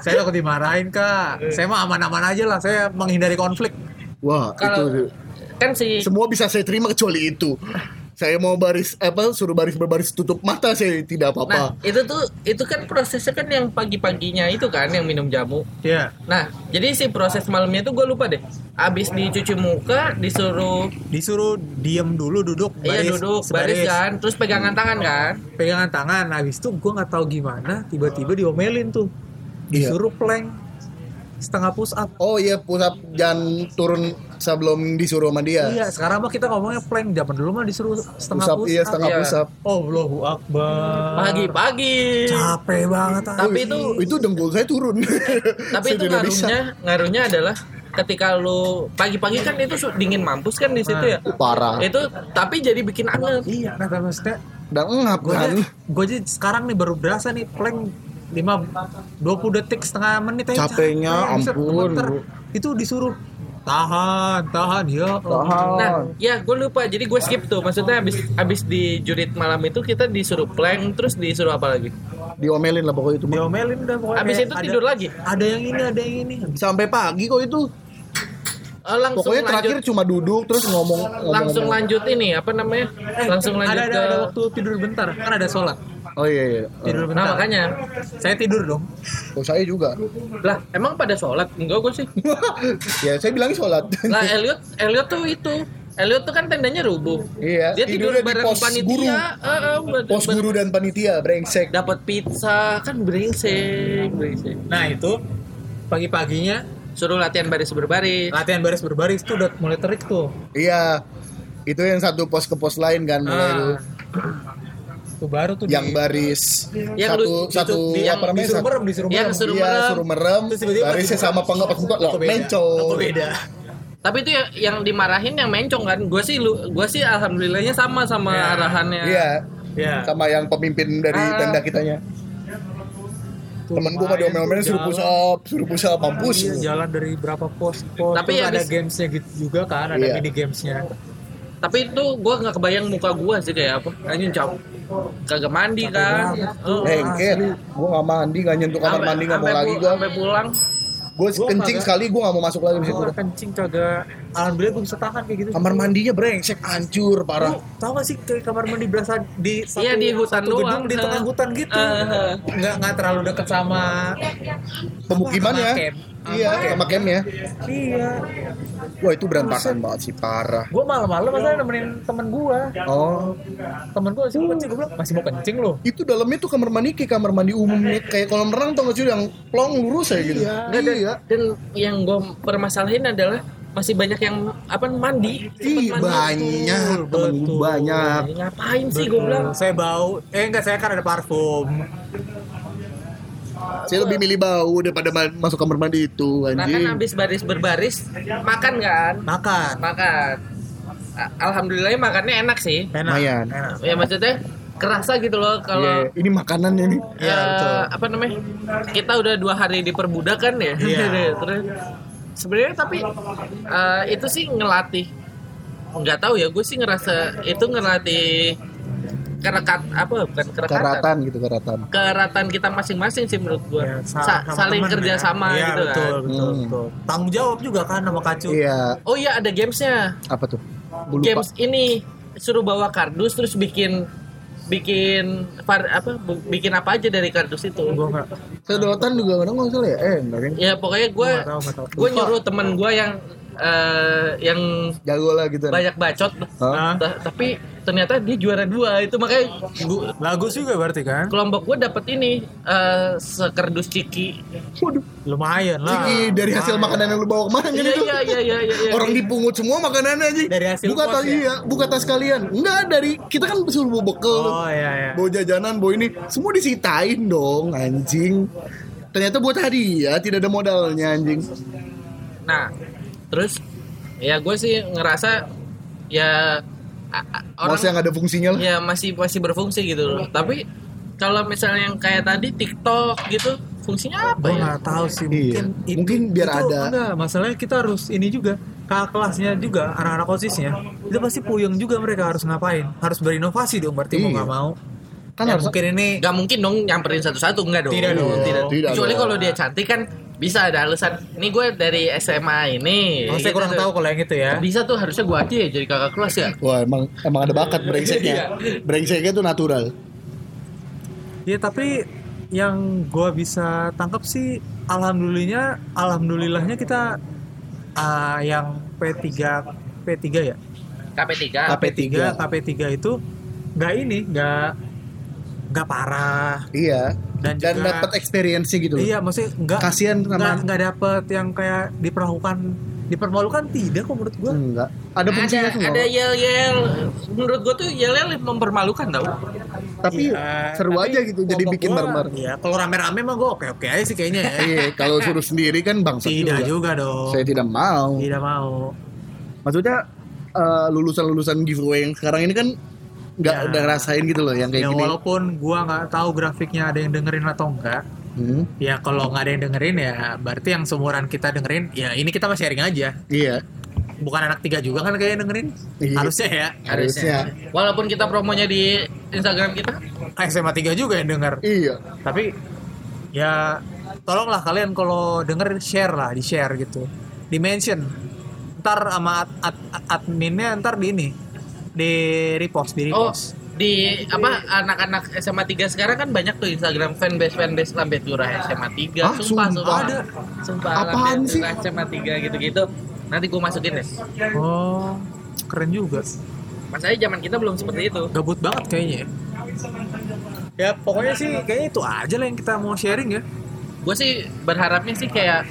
saya takut dimarahin kak saya mah aman-aman aja lah saya menghindari konflik
Wah, itu
kalau kan si
semua bisa saya terima kecuali itu. Saya mau baris apa suruh baris berbaris tutup mata saya tidak
nah
apa-apa.
itu tuh itu kan prosesnya kan yang pagi-paginya itu kan yang minum jamu
Iya
nah jadi si proses malamnya itu gua lupa deh abis dicuci muka disuruh
disuruh diem dulu duduk
iya duduk baris
sebaris.
kan terus pegangan tangan kan
pegangan tangan habis itu gue nggak tahu gimana tiba-tiba diomelin tuh
Iya.
disuruh plank setengah push up
Oh iya pusat jangan turun sebelum disuruh sama dia.
iya sekarang mah kita ngomongnya plank zaman dulu mah disuruh setengah
Pusap
push
iya
up
setengah
Iya.
pusap.
oh Allahu akbar
pagi-pagi
capek banget ah.
Tapi itu
Itu dengkul saya turun.
tapi
Saya
itu
tidak bisa.
ngaruhnya ngaruhnya adalah ketika lu pagi-pagi kan itu su- dingin mampus kan di
Nah.
situ ya
parah.
itu tapi jadi bikin anget
iya nah tapi maksudnya
Dan ngap
gue
kan.
aja gue aja sekarang nih baru berasa nih plank lima 20 detik setengah menit aja
Capeknya,
buset,
ampun,
gemeter.
Bu.
itu disuruh tahan tahan ya Allah.
nah
Oh.
ya gue lupa jadi gue skip tuh maksudnya abis abis dijurit malam itu kita disuruh plank terus disuruh apa lagi
Diomelin lah pokoknya itu. Bang.
diomelin udah pokoknya
abis
kayak
itu
ada-
tidur lagi
ada yang ini ada yang ini
Sampai pagi kok itu.
Eh, langsung
Pokoknya terakhir
lanjut
cuma duduk terus ngomong ngomong.
langsung
ngomong.
lanjut ini apa namanya
Eh,
langsung lanjut
ada, ada,
ke
ada waktu tidur bentar kan ada sholat
Oh iya iya.
tidur bentar
nah makanya
saya tidur dong
Oh saya juga.
lah emang pada sholat enggak gue sih
ya saya bilang sholat.
lah Elliot Elliot tuh itu Elliot tuh kan tendanya rubuh
Iya,
dia tidur
tidurnya di
bareng
pos
panitia
guru.
eh, eh, ber-
Pos
ber-
guru dan panitia brengsek.
dapat pizza kan brengsek brengsek
nah itu pagi paginya
suruh latihan baris berbaris
latihan baris berbaris tuh udah mulai terik tuh
Iya. Itu yang satu pos ke pos lain kan mulai
Ah.
itu.
tuh baru tuh
yang
di-
baris
Yang
satu
lu-
satu
di- yang
apa namanya
disuruh
satu-
merem disuruh
Iya,
merem
disuruh
iya,
merem.
suruh merem
Terus tiba-tiba
barisnya
tiba-tiba-
sama pengepak muka lah
Kok beda? Kok
mencong
beda
tapi itu ya- yang dimarahin yang mencong kan gue sih lu gue sih alhamdulillahnya sama sama
Ya.
arahannya
iya
ya
sama yang pemimpin dari
Ah.
tenda kitanya temen gua pada omel-omelin suruh push up suruh push up mampus
Iya, jalan dari berapa pos pos
Tapi
tapi ada
habis-
gamesnya gitu juga kan ada
Iya.
mini gamesnya
tapi itu gue nggak kebayang muka gue sih kayak apa anjing cap kagak mandi kan Eh,
Lengket, gua gak mandi, gak nyentuh kamar
sampai-
mandi, gak mau
sampai
lagi
pul-
gua
sampai pulang
Gua
Gua
kencing
kagak-
sekali, gua gak mau masuk lagi di situ
Gua kencing kagak alhamdulillah gue bisa tahan kayak gitu
Kamar mandinya brengsek, hancur,
Lu
parah
tau gak sih kayak kamar mandi berasa di satu,
Iya, di hutan
satu gedung
doang,
di
eh.
tengah hutan gitu.
Eh.
Nggak nggak terlalu deket sama
Pemukimannya
Sama camp.
Iya, sama campnya
iya.
Wah itu berantakan banget sih, parah
Gue malam-malam masalah nemenin temen gue.
Oh,
Temen gue masih mau kencing gue bilang masih mau kencing loh.
itu dalamnya tuh kamar mandi kayak kamar mandi umum nih. kayak kolam renang tau gak sih yang plong lurus aja gitu
Nggak, dan, dan yang gue permasalahin adalah masih banyak yang apa mandi
Ih,
Tempat mandi.
banyak
betul,
temen gue
betul.
banyak
ngapain sih gue bilang
Saya bau. Eh enggak saya kan ada parfum.
saya lebih milih bau daripada ma- masuk kamar mandi itu
Nah kan
anjing
habis baris berbaris makan kan?
Makan.
Makan. A- Alhamdulillah makannya enak sih.
Enak.
Lumayan.
Enak.
Ya maksudnya kerasa gitu loh kalau
Iya, ini makanannya nih
eh,
Ya,
apa namanya kita udah dua hari diperbudakan ya.
Iya.
Terus sebenarnya tapi eh, itu sih ngelatih. Nggak tahu ya, gue sih ngerasa itu ngelatih kerekat apa bukan kerekatan
karatan gitu karatan
keratan kita masing-masing sih menurut gue
Ya, sa- sama
Iya, saling
temen,
kerja
ya.
sama
Iya,
gitu
betul,
kan
betul,
Hmm.
betul. Tanggung jawab juga kan sama kacu.
iya
oh iya ada gamesnya
apa tuh Gua lupa.
games ini suruh bawa kardus terus bikin bikin var, apa bu- bikin apa aja dari kardus
Gue
itu
nggak
sedotan juga mana nggak salah ya eh enggak kan
ya pokoknya gue
nggak tahu nggak tahu.
gue nyuruh temen gue yang eh, yang
Jago lah gitu.
banyak bacot
Hah?
Ta- tapi ternyata dia juara dua itu makanya gua-
Lagu juga berarti kan?
kelompok gue dapet ini eh, sekerdus ciki
Waduh,
Lumayan lah.
Ciki, dari hasil makanan yang lu bawa kemarin kan
iya
itu.
iya iya iya iya iya.
Orang dipungut semua makanannya anjing.
Dari hasil
buka
puas
tas
ya?
iya, buka tas kalian. Enggak dari kita kan disuruh bawa bekal.
Oh iya iya.
Bawa jajanan, bawa ini semua disitain dong anjing. Ternyata buat hadiah tidak ada modalnya anjing.
nah terus ya gue sih ngerasa ya a- a- orang
Masa yang ada fungsinya
Iya,
lah.
ya masih masih berfungsi gitu loh tapi kalau misalnya yang kayak tadi TikTok gitu fungsinya apa
Gue
ya
nggak tahu sih
Iya.
mungkin itu-
Mungkin biar
itu
ada.
enggak, masalahnya kita harus ini juga kakak kelasnya juga anak-anak osisnya itu pasti puyeng juga mereka harus ngapain harus berinovasi dong berarti mau
Iya.
nggak mau
Kan
Ya,
harus
mungkin ini
nggak mungkin dong nyamperin satu-satu nggak dong
Tidak iya, dong.
Iya, Tidak
kecuali
dong.
kalau dia cantik kan bisa ada alasan ini gue dari SMA ini
oh, saya
Gitu
kurang
tuh.
tahu kalau yang itu ya
bisa tuh harusnya gue aja ya jadi kakak kelas ya
Wah emang emang ada
Iya.
bakat brengseknya. brengseknya tuh natural.
ya tapi yang gua bisa tangkap sih alhamdulillahnya alhamdulillahnya kita ah, yang P3 P3 ya
KP3
KP3 KP3 itu nggak ini nggak nggak parah
Iya.
dan,
Dan
juga
dapat experience-nya gitu loh.
Iya, maksudnya enggak
Kasihan
enggak,
sama
enggak dapet yang kayak diperlakukan dipermalukan tidak kok menurut gua.
enggak. Ada fungsinya
ada,
semua.
ada yel yel menurut gue tuh yel yel mempermalukan tau
Tapi
Iya,
seru
tapi
aja gitu jadi
kelompok
bikin
gua,
barbar.
Iya, kalau rame-rame mah gua oke-oke aja sih kayaknya ya.
Iya, kalau suruh sendiri kan bangsa
tidak juga dong.
Saya tidak mau.
Tidak mau.
Maksudnya eh, lulusan-lulusan giveaway yang sekarang ini kan nggak
Ya.
udah ngerasain gitu loh yang kayak
Ya
gini.
walaupun gua nggak tahu grafiknya ada yang dengerin atau enggak.
Hmm,
Ya kalau nggak ada yang dengerin ya berarti yang seumuran kita dengerin ya ini kita masih sharing aja.
iya.
Bukan anak tiga juga kan kayaknya dengerin.
Iya.
Harusnya ya.
Harusnya.
walaupun kita promonya di Instagram kita
Kayak SMA 3 juga yang denger.
Iya.
tapi ya tolonglah kalian kalau denger share lah di share gitu di mention ntar sama ad- ad- ad- adminnya ntar di ini di repost di
oh
repost
di apa anak-anak SMA 3 sekarang kan banyak tuh Instagram fanbase fanbase Lambe Turah SMA 3
Ah,
sumpah,
sumpah.
sumpah
Ada.
sumpah
Apaan
Lambe
sih?
Turah SMA 3 gitu-gitu nanti gue masukin deh
oh, keren juga
masalahnya zaman kita belum seperti itu
gabut banget kayaknya ya. ya pokoknya sih kayaknya itu aja lah yang kita mau sharing ya
gue sih berharapnya sih kayak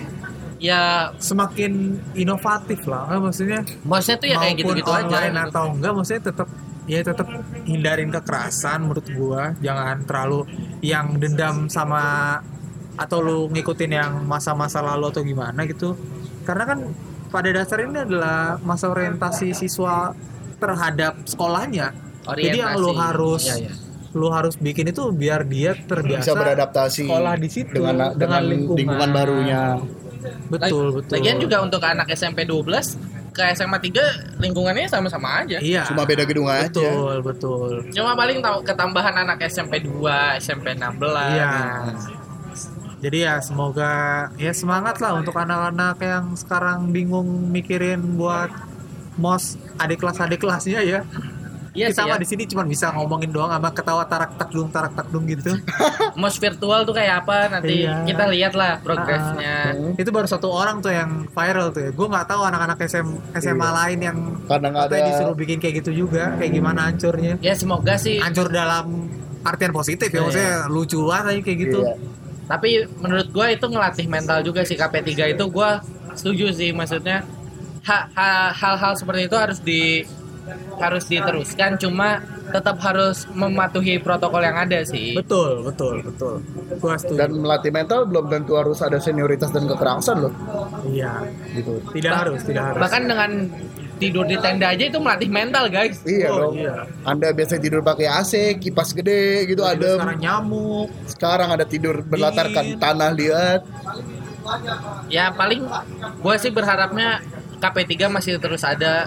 ya
semakin inovatif lah Eh, maksudnya
maksudnya tuh ya kayak
maupun
gitu-gitu aja gitu.
online atau enggak maksudnya tetap ya tetap hindarin kekerasan menurut gua jangan terlalu yang dendam sama atau lu ngikutin yang masa-masa lalu atau gimana gitu karena kan pada dasarnya ini adalah masa orientasi siswa terhadap sekolahnya jadi yang lu
Orientasi.
harus
Iya, iya.
lu harus bikin itu biar dia
Bisa
terbiasa
beradaptasi
sekolah di situ
dengan dengan lingkungan, barunya.
betul betul
Lagian juga untuk anak SMP 12 ke SMA 3 lingkungannya sama-sama aja.
iya
Cuma beda gedung aja.
betul betul
Cuma paling tahu ketambahan anak SMP 2, SMP 16.
Iya. Jadi ya semoga ya semangat lah untuk anak-anak yang sekarang bingung mikirin buat mos adik kelas adik kelasnya ya.
Iya sih
Kita
ya.
mah di sini cuma bisa ngomongin doang sama ketawa tarak takdung tarak takdung gitu.
Mos virtual tuh kayak apa nanti
Iya. Ah.
kita lihat lah progresnya.
Hmm.
Itu baru satu orang tuh yang viral tuh. Ya. Gue nggak tahu anak-anak SM, SMA lain yang
Karena Iya. nggak ada
katanya disuruh bikin kayak gitu juga, kayak gimana hancurnya.
Ya semoga sih.
Hancur dalam artian positif
Iya.
ya, maksudnya lucuan aja kayak gitu.
Iya.
Tapi menurut gua itu ngelatih mental juga sih KP3 itu gua setuju sih maksudnya ha- ha- hal-hal seperti itu harus di harus diteruskan cuma tetap harus mematuhi protokol yang ada sih.
Betul, betul, betul. Gue setuju.
dan melatih mental belum tentu harus ada senioritas dan kekerasan loh
Iya.
gitu.
Tidak harus, tidak harus.
Bahkan dengan tidur di tenda aja itu melatih mental, guys.
Iya
Oh,
dong.
iya.
Anda biasa tidur pakai AC, kipas gede gitu
Tiba-tiba
adem.
sekarang nyamuk
Sekarang ada tidur berlatarkan
Dingin.
tanah liat.
Ya paling gue sih berharapnya KP3 masih terus ada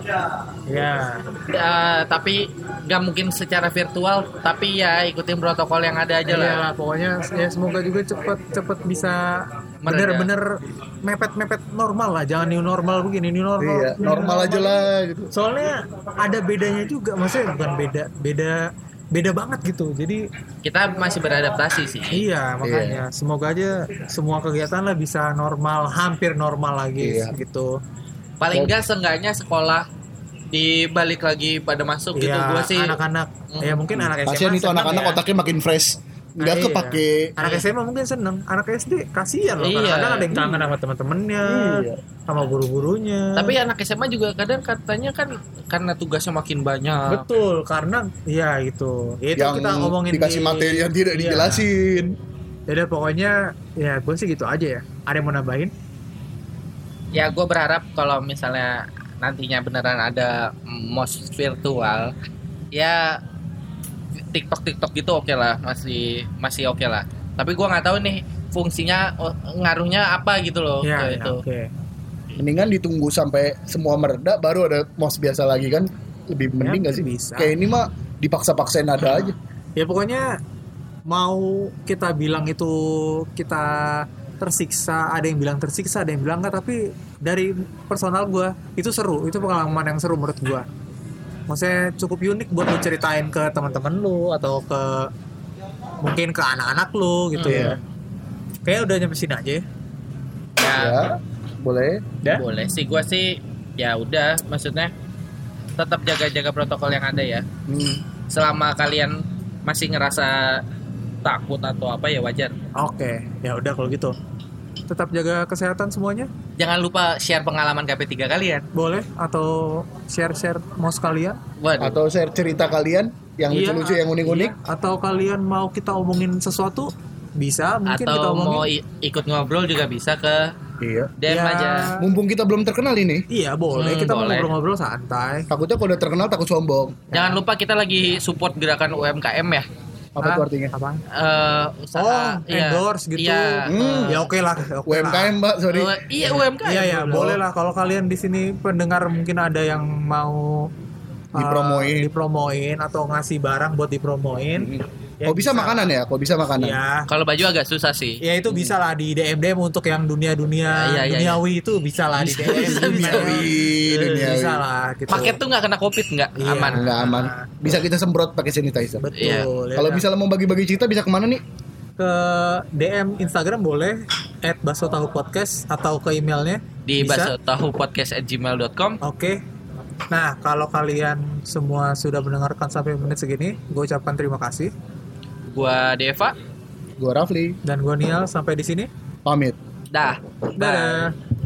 ya
eh, tapi nggak mungkin secara virtual tapi ya ikutin protokol yang ada aja lah.
Iyalah, pokoknya ya semoga juga cepet cepet bisa
Mereda.
bener-bener
ya.
mepet-mepet normal lah jangan new normal begini new normal
Iya,
new
normal aja lah gitu.
soalnya ada bedanya juga maksudnya bukan beda beda beda banget gitu jadi
Kita masih beradaptasi sih.
iya makanya semoga aja semua kegiatan lah bisa normal hampir normal lagi
Iya.
gitu
paling enggak seenggaknya sekolah dibalik lagi pada masuk gitu
Iya,
gua sih Mm.
anak-anak ya mungkin anak SMA
Kasihan itu
seneng
anak-anak
ya.
otaknya makin fresh. Nggak
Ah, iya.
kepake.
anak SMA mungkin seneng anak SD kasihan loh
Iya.
kadang-kadang ada yang kangen sama teman-temannya
Iya.
sama guru-gurunya
tapi anak SMA juga kadang katanya kan karena tugasnya makin banyak
Ah, betul karena ya gitu itu
yang
kita ngomongin
dikasih
di-
materi yang tidak
Iya.
dijelasin.
Yaudah pokoknya ya gue sih gitu aja ya ada yang mau nambahin
ya gua berharap kalau misalnya nantinya beneran ada mos virtual ya TikTok TikTok gitu oke lah masih masih oke lah tapi gua nggak tahu nih fungsinya o- ngaruhnya apa gitu loh ke
ya, ya,
itu
oke
Mendingan ditunggu sampai semua mereda baru ada mos biasa lagi kan lebih mending nggak sih?
Ya, bisa.
Kayak ini mah dipaksa-paksain ada aja.
ya pokoknya mau kita bilang itu kita tersiksa ada yang bilang tersiksa ada yang bilang enggak tapi dari personal gue itu seru itu pengalaman yang seru menurut gue maksudnya cukup unik buat lu ceritain ke teman-teman lu atau ke mungkin ke anak-anak lu gitu
Hmm.
ya kayak udah nyampe sini aja ya
ya,
Ya, boleh.
Ya?
boleh sih gua sih ya udah maksudnya tetap jaga-jaga protokol yang ada ya
Hmm.
selama kalian masih ngerasa takut atau apa ya wajar
oke ya udah kalau gitu tetap jaga kesehatan semuanya
jangan lupa share pengalaman KP3 kalian
boleh atau share-share mau sekalian
waduh
Atau share cerita kalian yang
Iya,
lucu-lucu, yang unik-unik.
iya. atau kalian mau kita omongin sesuatu bisa mungkin kita
atau
omongin
mau i- ikut ngobrol juga bisa ke
Iya.
DM
Ya.
aja
Mumpung kita belum terkenal ini,
iya boleh
Hmm,
kita mau
boleh.
ngobrol-ngobrol santai
takutnya kalau udah terkenal takut sombong.
jangan lupa kita lagi support gerakan UMKM ya
Apa
Ah,
tuh artinya?
apa
Eh, usaha
Oh, endorse gitu.
iya
Hmm.
eh,
ya oke lah oke lah.
UMKM, Mbak, sorry.
eh, iya UMKM
iya ya
Bro.
boleh lah kalau kalian di sini pendengar mungkin ada yang mau uh,
Dipromoin.
dipromoin atau ngasih barang buat dipromoin Ya,
Kok bisa,
bisa.
makanan ya? Kok bisa makanan?
ya
kalau baju agak susah sih
ya itu bisa lah di DM DM untuk yang dunia
Iya,
dunia
iya, iya.
duniawi itu bisa lah di
Bisa,
DM
bisa,
dunia.
Duniawi, duniawi.
bisa lah gitu
paket tuh nggak kena covid nggak
Iya.
aman
Nggak aman. Bisa kita semprot pakai sanitizer.
betul
Iya.
ya
Kalau
kan?
misalnya mau bagi-bagi cerita bisa kemana nih?
ke DM Instagram boleh at Baso Tahu Podcast atau ke emailnya
di
bisa.
bakso tahu podcast at gmail.com
Oke. Nah, kalau kalian semua sudah mendengarkan sampai menit segini, gue ucapkan terima kasih.
gua Deva
Gua Rafli,
Dan gue Nial sampai di sini.
pamit.
dah
Dadah.